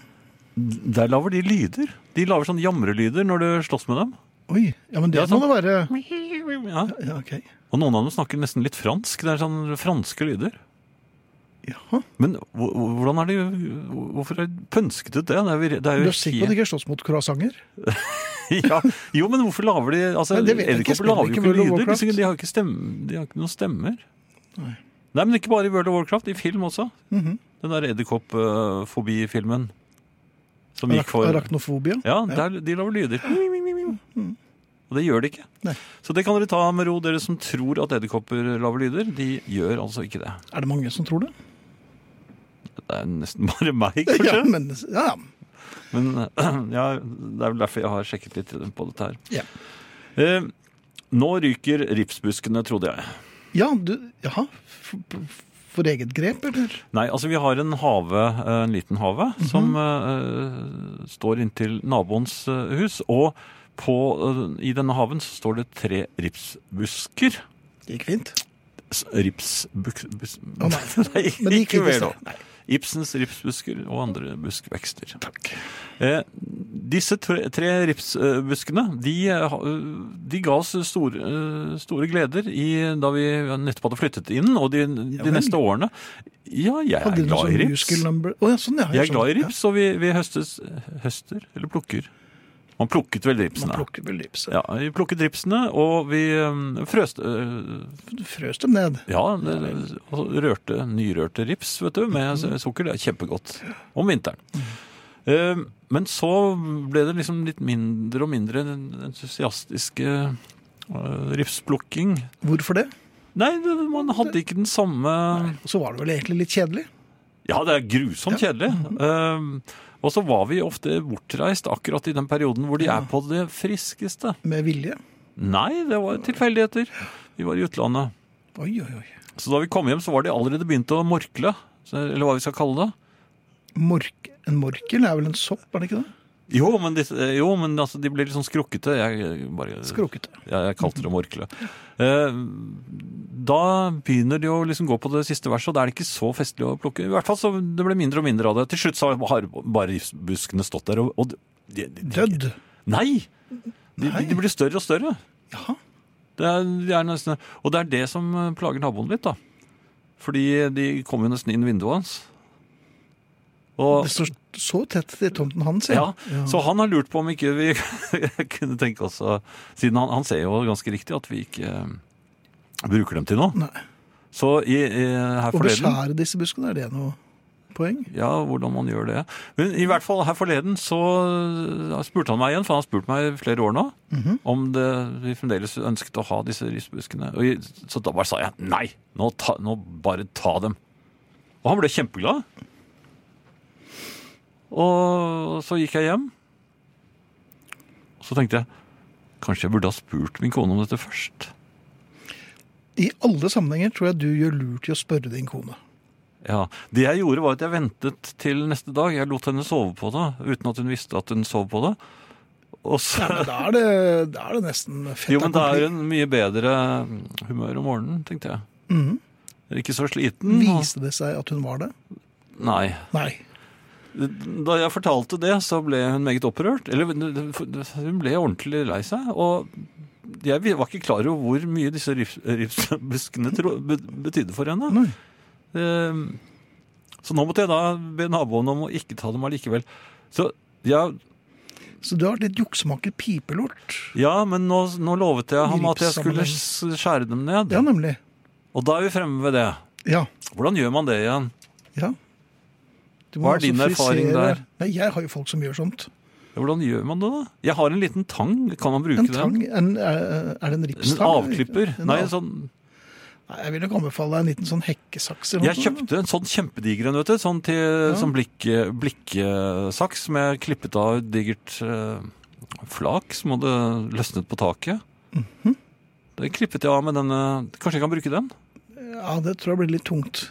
Speaker 3: der lager de lyder. De lager sånne jamrelyder når du slåss med dem.
Speaker 2: Oi, ja, men det
Speaker 3: Ja,
Speaker 2: må
Speaker 3: sant.
Speaker 2: det være
Speaker 3: Ja.
Speaker 2: Ja, ok.
Speaker 3: Og noen av dem snakker nesten litt fransk. Det er sånne franske lyder.
Speaker 2: Jaha.
Speaker 3: Men hvor- hvor- hvordan er det Hvorfor er det pønsket ut det? Det er, vir- det er
Speaker 2: Du er
Speaker 3: jo
Speaker 2: sikker på at det ikke er slåss mot croissanter?
Speaker 3: (laughs) ja. Jo, men hvorfor lager de altså,
Speaker 2: Nei, det vet jeg ikke.
Speaker 3: Edderkopper lager jo
Speaker 2: Spiller
Speaker 3: ikke
Speaker 2: ikke World of
Speaker 3: lyder. De,
Speaker 2: Warcraft?
Speaker 3: de, har jo ikke stemme, de har ikke noen stemmer.
Speaker 2: Nei.
Speaker 3: Nei, men ikke bare i World of Warcraft, i film også.
Speaker 2: Mhm.
Speaker 3: Den der edderkoppfobi-filmen. Som gikk
Speaker 2: Arak
Speaker 3: for
Speaker 2: Arachnofobia?
Speaker 3: Ja, der, de lager lyder. Og det gjør de ikke.
Speaker 2: Mm. Nei.
Speaker 3: Så det kan dere ta med ro, dere som tror at edderkopper lager lyder. De gjør altså ikke det.
Speaker 2: Er det mange som tror det?
Speaker 3: Det er nesten (laughs) bare meg,
Speaker 2: (laughs) Ja,
Speaker 3: kanskje.
Speaker 2: men, ja, ja.
Speaker 3: Men (clears throat) ja, det er vel derfor jeg har sjekket litt på dette her.
Speaker 2: Ja.
Speaker 3: Eh, nå ryker ripsbuskene, trodde jeg.
Speaker 2: ja du, jaha. For, for eget grep, eller?
Speaker 3: Nei, altså vi har en have, eh, en liten have, som eh, står inntil naboens eh, hus. Og på, eh, i denne haven så står det tre ripsbusker.
Speaker 2: Det gikk fint.
Speaker 3: S- Ripsbuk... bus-
Speaker 2: Å,
Speaker 3: (laughs)
Speaker 2: nei. Men det gikk
Speaker 3: ikke
Speaker 2: fint i
Speaker 3: mer nå.
Speaker 2: sted. Nei,
Speaker 3: Ibsens ripsbusker og andre buskvekster.
Speaker 2: takk.
Speaker 3: Eh, disse tre, tre ripsbuskene de, eh, ha- de ga oss store, eh, store gleder i, da vi nettopp hadde flyttet inn, og de, de
Speaker 2: vel.
Speaker 3: neste årene. Ja, jeg er
Speaker 2: Hadde du noe
Speaker 3: glad i
Speaker 2: sånn
Speaker 3: rips.
Speaker 2: musical number? Å, ja, sånn, ja.
Speaker 3: Jeg er
Speaker 2: sånn.
Speaker 3: glad i rips, og vi, vi høstes, høster, eller plukker. Man plukket vel
Speaker 2: Ja, man
Speaker 3: ripsene.
Speaker 2: plukker vel rips.
Speaker 3: Ja, vi plukket ripsene, og vi øhm, frøste øh,
Speaker 2: Du frøs dem ned.
Speaker 3: Ja, det- altså, rørte, nyrørte rips, vet du, med s- sukker. Det er kjempegodt om vinteren. Ehm, Men så ble det liksom litt mindre og mindre entusiastisk øh, ripsplukking.
Speaker 2: Hvorfor det?
Speaker 3: Nei, det- man hadde ikke den samme
Speaker 2: Så var det vel egentlig litt kjedelig.
Speaker 3: Ja, det er grusomt kjedelig. Ehm, og så var vi ofte bortreist akkurat i den perioden hvor de er på det friskeste.
Speaker 2: Med vilje.
Speaker 3: Nei, det var tilfeldigheter. Vi var i utlandet.
Speaker 2: Oi, oi, oi.
Speaker 3: Så da vi kom hjem, så var de allerede begynt å morkle. så- Eller hva vi skal kalle det.
Speaker 2: Mork, en morkel er vel en sopp, er det ikke det?
Speaker 3: Jo, men, disse- jo, men altså, de ble litt sånn skrukkete. Jeg, bare,
Speaker 2: Skrokete.
Speaker 3: jeg, jeg kalte det morkle. Ehm, da begynner de å liksom gå på det siste verset, og da er det ikke så festlig å plukke. I hvert fall så det ble mindre og mindre av det. Til slutt så har bare buskene stått der, og, og de, de, de,
Speaker 2: Dødd.
Speaker 3: Nei! De,
Speaker 2: Nei.
Speaker 3: de blir større og større.
Speaker 2: Jaha.
Speaker 3: Det er, de er nesten, og det er det som eh, plager naboen litt, da. Fordi de kommer jo nesten inn i vinduet hans. Og,
Speaker 2: Det står så tett til tomten hans,
Speaker 3: ja, så han har lurt på om ikke vi (laughs) kunne tenke oss å Siden han, han ser jo ganske riktig at vi ikke eh, bruker dem til noe.
Speaker 2: Nei.
Speaker 3: Så i, i, her
Speaker 2: Å
Speaker 3: forleden
Speaker 2: beskjære disse buskene, er det noe poeng?
Speaker 3: Ja, hvordan man gjør det. Men i hvert fall her forleden så eh, spurte han meg igjen, for han har spurt meg i flere år nå, om det, vi fremdeles ønsket å ha disse risbuskene. Og jeg, så da bare sa jeg nei, nå, ta, nå bare ta dem. Og han ble kjempeglad. Og så gikk jeg hjem. Og så tenkte jeg kanskje jeg burde ha spurt min kone om dette først.
Speaker 2: I alle sammenhenger tror jeg du gjør lurt i å spørre din kone.
Speaker 3: Ja, Det jeg gjorde, var at jeg ventet til neste dag. Jeg lot henne sove på det uten at hun visste at hun sov på det. Og så,
Speaker 2: Ja, men da er det, da er det nesten fett
Speaker 3: jo, men da
Speaker 2: accompli.
Speaker 3: er hun mye bedre humør om morgenen, tenkte jeg.
Speaker 2: Mhm.
Speaker 3: Ikke så sliten. og-
Speaker 2: Viste det seg at hun var det?
Speaker 3: Nei.
Speaker 2: Nei.
Speaker 3: Da jeg fortalte det, så ble hun meget opprørt. Eller hun ble ordentlig lei seg. Og jeg var ikke klar over hvor mye disse rips- ripsbuskene tro- be- betydde for henne.
Speaker 2: Nei.
Speaker 3: Ehm, Så nå måtte jeg da be naboen om å ikke ta dem allikevel. Så ja,
Speaker 2: Så du har vært litt juksemaker pipelort.
Speaker 3: ja men nå, nå lovet jeg ham at jeg skulle
Speaker 2: Gripssammenheng.
Speaker 3: s- skjære dem ned.
Speaker 2: Ja, nemlig.
Speaker 3: Og da er vi fremme ved det.
Speaker 2: Ja.
Speaker 3: Hvordan gjør man det igjen?
Speaker 2: ja. Du altså
Speaker 3: Hva er din erfaring
Speaker 2: frisere-
Speaker 3: der?
Speaker 2: Nei, jeg har jo folk som gjør sånt.
Speaker 3: Hvordan gjør man det, da? Jeg har en liten tang. Kan man bruke
Speaker 2: En
Speaker 3: den?
Speaker 2: tang, en, eh, er er det en
Speaker 3: En
Speaker 2: ripstang?
Speaker 3: avklipper?
Speaker 2: En
Speaker 3: Nei,
Speaker 2: av-
Speaker 3: sånn
Speaker 2: Nei, jeg vil nok anbefale deg en liten sånn hekkesaks. eller noe
Speaker 3: Jeg kjøpte en sånn kjempediger en, vet du. Sånn til sånn blikk, blikksaks som jeg klippet av et digert eh, flak som hadde løsnet på taket.
Speaker 2: Mhm.
Speaker 3: Det klippet jeg av med denne Kanskje jeg kan bruke den?
Speaker 2: Ja, det tror jeg blir litt tungt.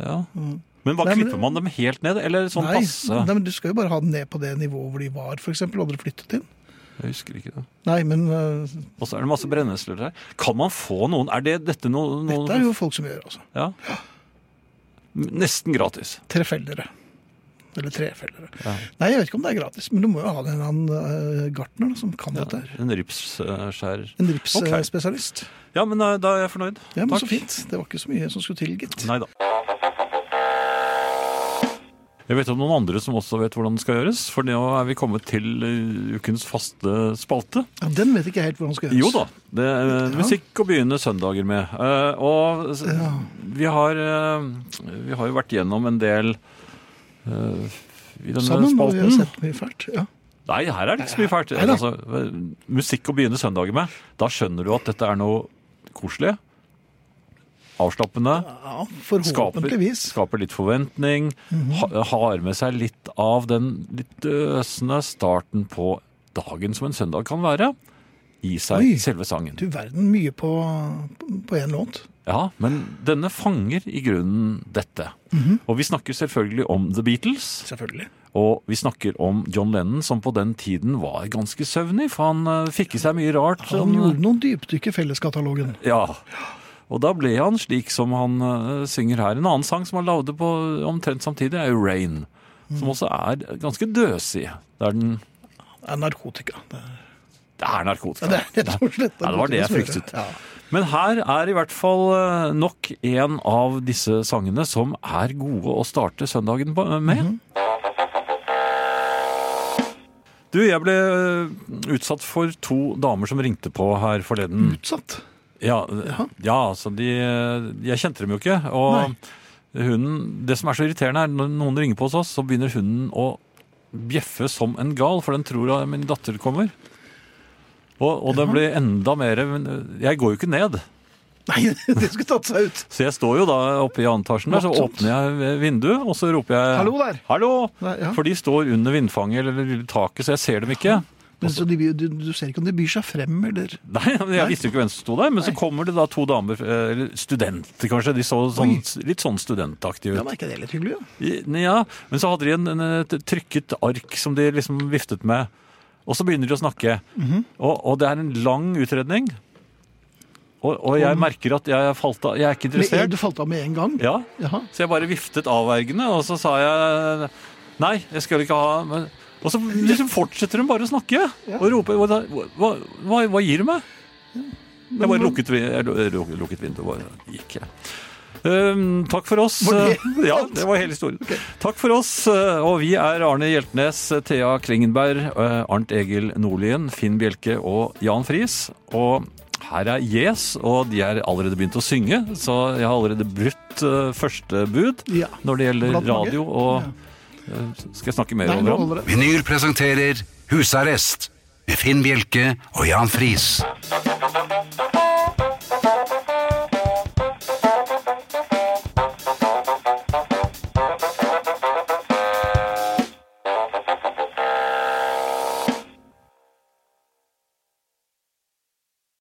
Speaker 3: Ja. Men
Speaker 2: Mm.
Speaker 3: hva
Speaker 2: Nei, men-
Speaker 3: klipper man dem helt ned, eller sånn
Speaker 2: nei,
Speaker 3: passe?
Speaker 2: nei, men du skal jo bare ha den ned på det nivået hvor de var, f.eks. Hadde de flyttet inn?
Speaker 3: Jeg husker ikke det.
Speaker 2: Nei, men øh,
Speaker 3: Og så er det masse brennesler her. Kan man få noen Er det dette noe, noe
Speaker 2: dette er jo folk som gjør, altså.
Speaker 3: Ja. Nesten gratis.
Speaker 2: Trefellere. Eller trefellere.
Speaker 3: Ja.
Speaker 2: Nei, jeg vet ikke om det er gratis, men du må jo ha en eller annen øh, gartner da, som kan dette her.
Speaker 3: En ripsskjærer.
Speaker 2: En
Speaker 3: Ok.
Speaker 2: ripsspesialist.
Speaker 3: Ja, men eh, da er jeg fornøyd.
Speaker 2: Ja, men så fint. Det var ikke så mye som skulle til, gitt.
Speaker 3: Nei da. Jeg vet om noen andre som også vet hvordan det skal gjøres, for nå er vi kommet til eh, ukens faste spalte.
Speaker 2: Ja, den vet ikke jeg helt hvordan skal gjøres.
Speaker 3: Jo da, det er eh, musikk å begynne søndager med. Eh, og s-
Speaker 2: Ja.
Speaker 3: vi har, eh, vi har jo vært gjennom en del eh, i denne
Speaker 2: Sammen, og vi har
Speaker 3: spalten.
Speaker 2: sett mye fælt. Ja.
Speaker 3: Nei, her er det ikke så mye fælt.
Speaker 2: Nei da.
Speaker 3: Altså, eh, musikk å begynne søndager med, da skjønner du at dette er noe koselig, avslappende,
Speaker 2: ja,
Speaker 3: skaper,
Speaker 2: forhåpentligvis. Mhm.
Speaker 3: skaper litt forventning, ha, har med seg litt av den litt øsende starten på dagen som en søndag kan være, i seg
Speaker 2: Oi.
Speaker 3: selve sangen.
Speaker 2: Du verden mye på på én låt.
Speaker 3: Ja, men denne fanger i grunnen dette.
Speaker 2: Mhm.
Speaker 3: Og vi snakker selvfølgelig om The Beatles,
Speaker 2: Selvfølgelig.
Speaker 3: og vi snakker om John Lennon, som på den tiden var ganske søvnig, for han eh, fikk i seg mye rart.
Speaker 2: Han gjorde noen dypdykk i felleskatalogen.
Speaker 3: Ja. Og da ble han slik som han eh, synger her. En annen sang som han lagde på omtrent samtidig, er jo Rain, som også er ganske døsig. Det er, den,
Speaker 2: Det er narkotika. Det er,
Speaker 3: det er narkotika.
Speaker 2: det er rett og slett
Speaker 3: Ja, det var det
Speaker 2: narkotika
Speaker 3: jeg
Speaker 2: som gjør
Speaker 3: fryktet.
Speaker 2: Ja.
Speaker 3: Men her er i hvert fall eh, nok en av disse sangene som er gode å starte søndagen på- eh, med.
Speaker 2: Mhm.
Speaker 3: Du, jeg ble eh, utsatt for to damer som ringte på her forleden.
Speaker 2: Utsatt. (laughs)
Speaker 3: Ja, ja. altså de eh, Jeg kjente dem jo ikke. Og hunden Det som er så irriterende, er når noen ringer på hos oss, så begynner hunden å bjeffe som en gal, for den tror at min datter kommer. Og, og det blir enda mer men eh, Jeg går jo ikke ned.
Speaker 2: Nei, det skulle tatt seg ut.
Speaker 3: Så jeg står jo da oppe i andre etasjen der, så
Speaker 2: Voldsomt.
Speaker 3: åpner jeg vinduet, og så roper jeg
Speaker 2: Hallo der!
Speaker 3: Hallo!
Speaker 2: Nei, ja.
Speaker 3: For de står under vindfanget eller lille taket, så jeg ser dem ikke.
Speaker 2: Men så de, du, du ser ikke om de byr seg frem, eller
Speaker 3: Nei, men Jeg visste jo ikke hvem som sto der, men så
Speaker 2: Nei.
Speaker 3: kommer det da to damer, eh, eller studenter kanskje, de så sånn, litt sånn studentaktige
Speaker 2: Ja,
Speaker 3: ut.
Speaker 2: men Er ikke det litt hyggelig? Ja?
Speaker 3: I- Ja, men så hadde de en, en, et trykket ark som de liksom viftet med. Og så begynner de å snakke.
Speaker 2: Mhm.
Speaker 3: og, og det er en lang utredning. Og, og jeg merker at jeg, falt av, jeg er ikke
Speaker 2: Med en,
Speaker 3: interessert.
Speaker 2: du falt av med en gang?
Speaker 3: Ja,
Speaker 2: Jaha.
Speaker 3: Så jeg bare viftet avvergende, og så sa jeg Nei, jeg skal ikke ha men... Og så liksom fortsetter hun bare å snakke og rope Hva, hva, hva, hva gir du meg? Jeg bare lukket, vi- jeg lu- jeg lukket, lukket vinduet og bare gikk. jeg. Um, takk for oss.
Speaker 2: Var det
Speaker 3: (laughs) ja, det var hele historien. Takk for oss. eh, Og vi er Arne Hjeltnes, Thea Klingenberg, eh, Arnt Egil Nordlien, Finn Bjelke og Jan Friis. Og her er Yes, og de er allerede begynt å synge, så jeg har allerede brutt eh, første bud
Speaker 2: Ja.
Speaker 3: når det gjelder
Speaker 2: Blant mange.
Speaker 3: radio. Og eh, skal jeg snakke mer
Speaker 2: Nei,
Speaker 3: om
Speaker 2: nå
Speaker 3: det?
Speaker 2: holder det.
Speaker 1: Vinyl presenterer Husarrest med Finn Bjelke og Jan Friis.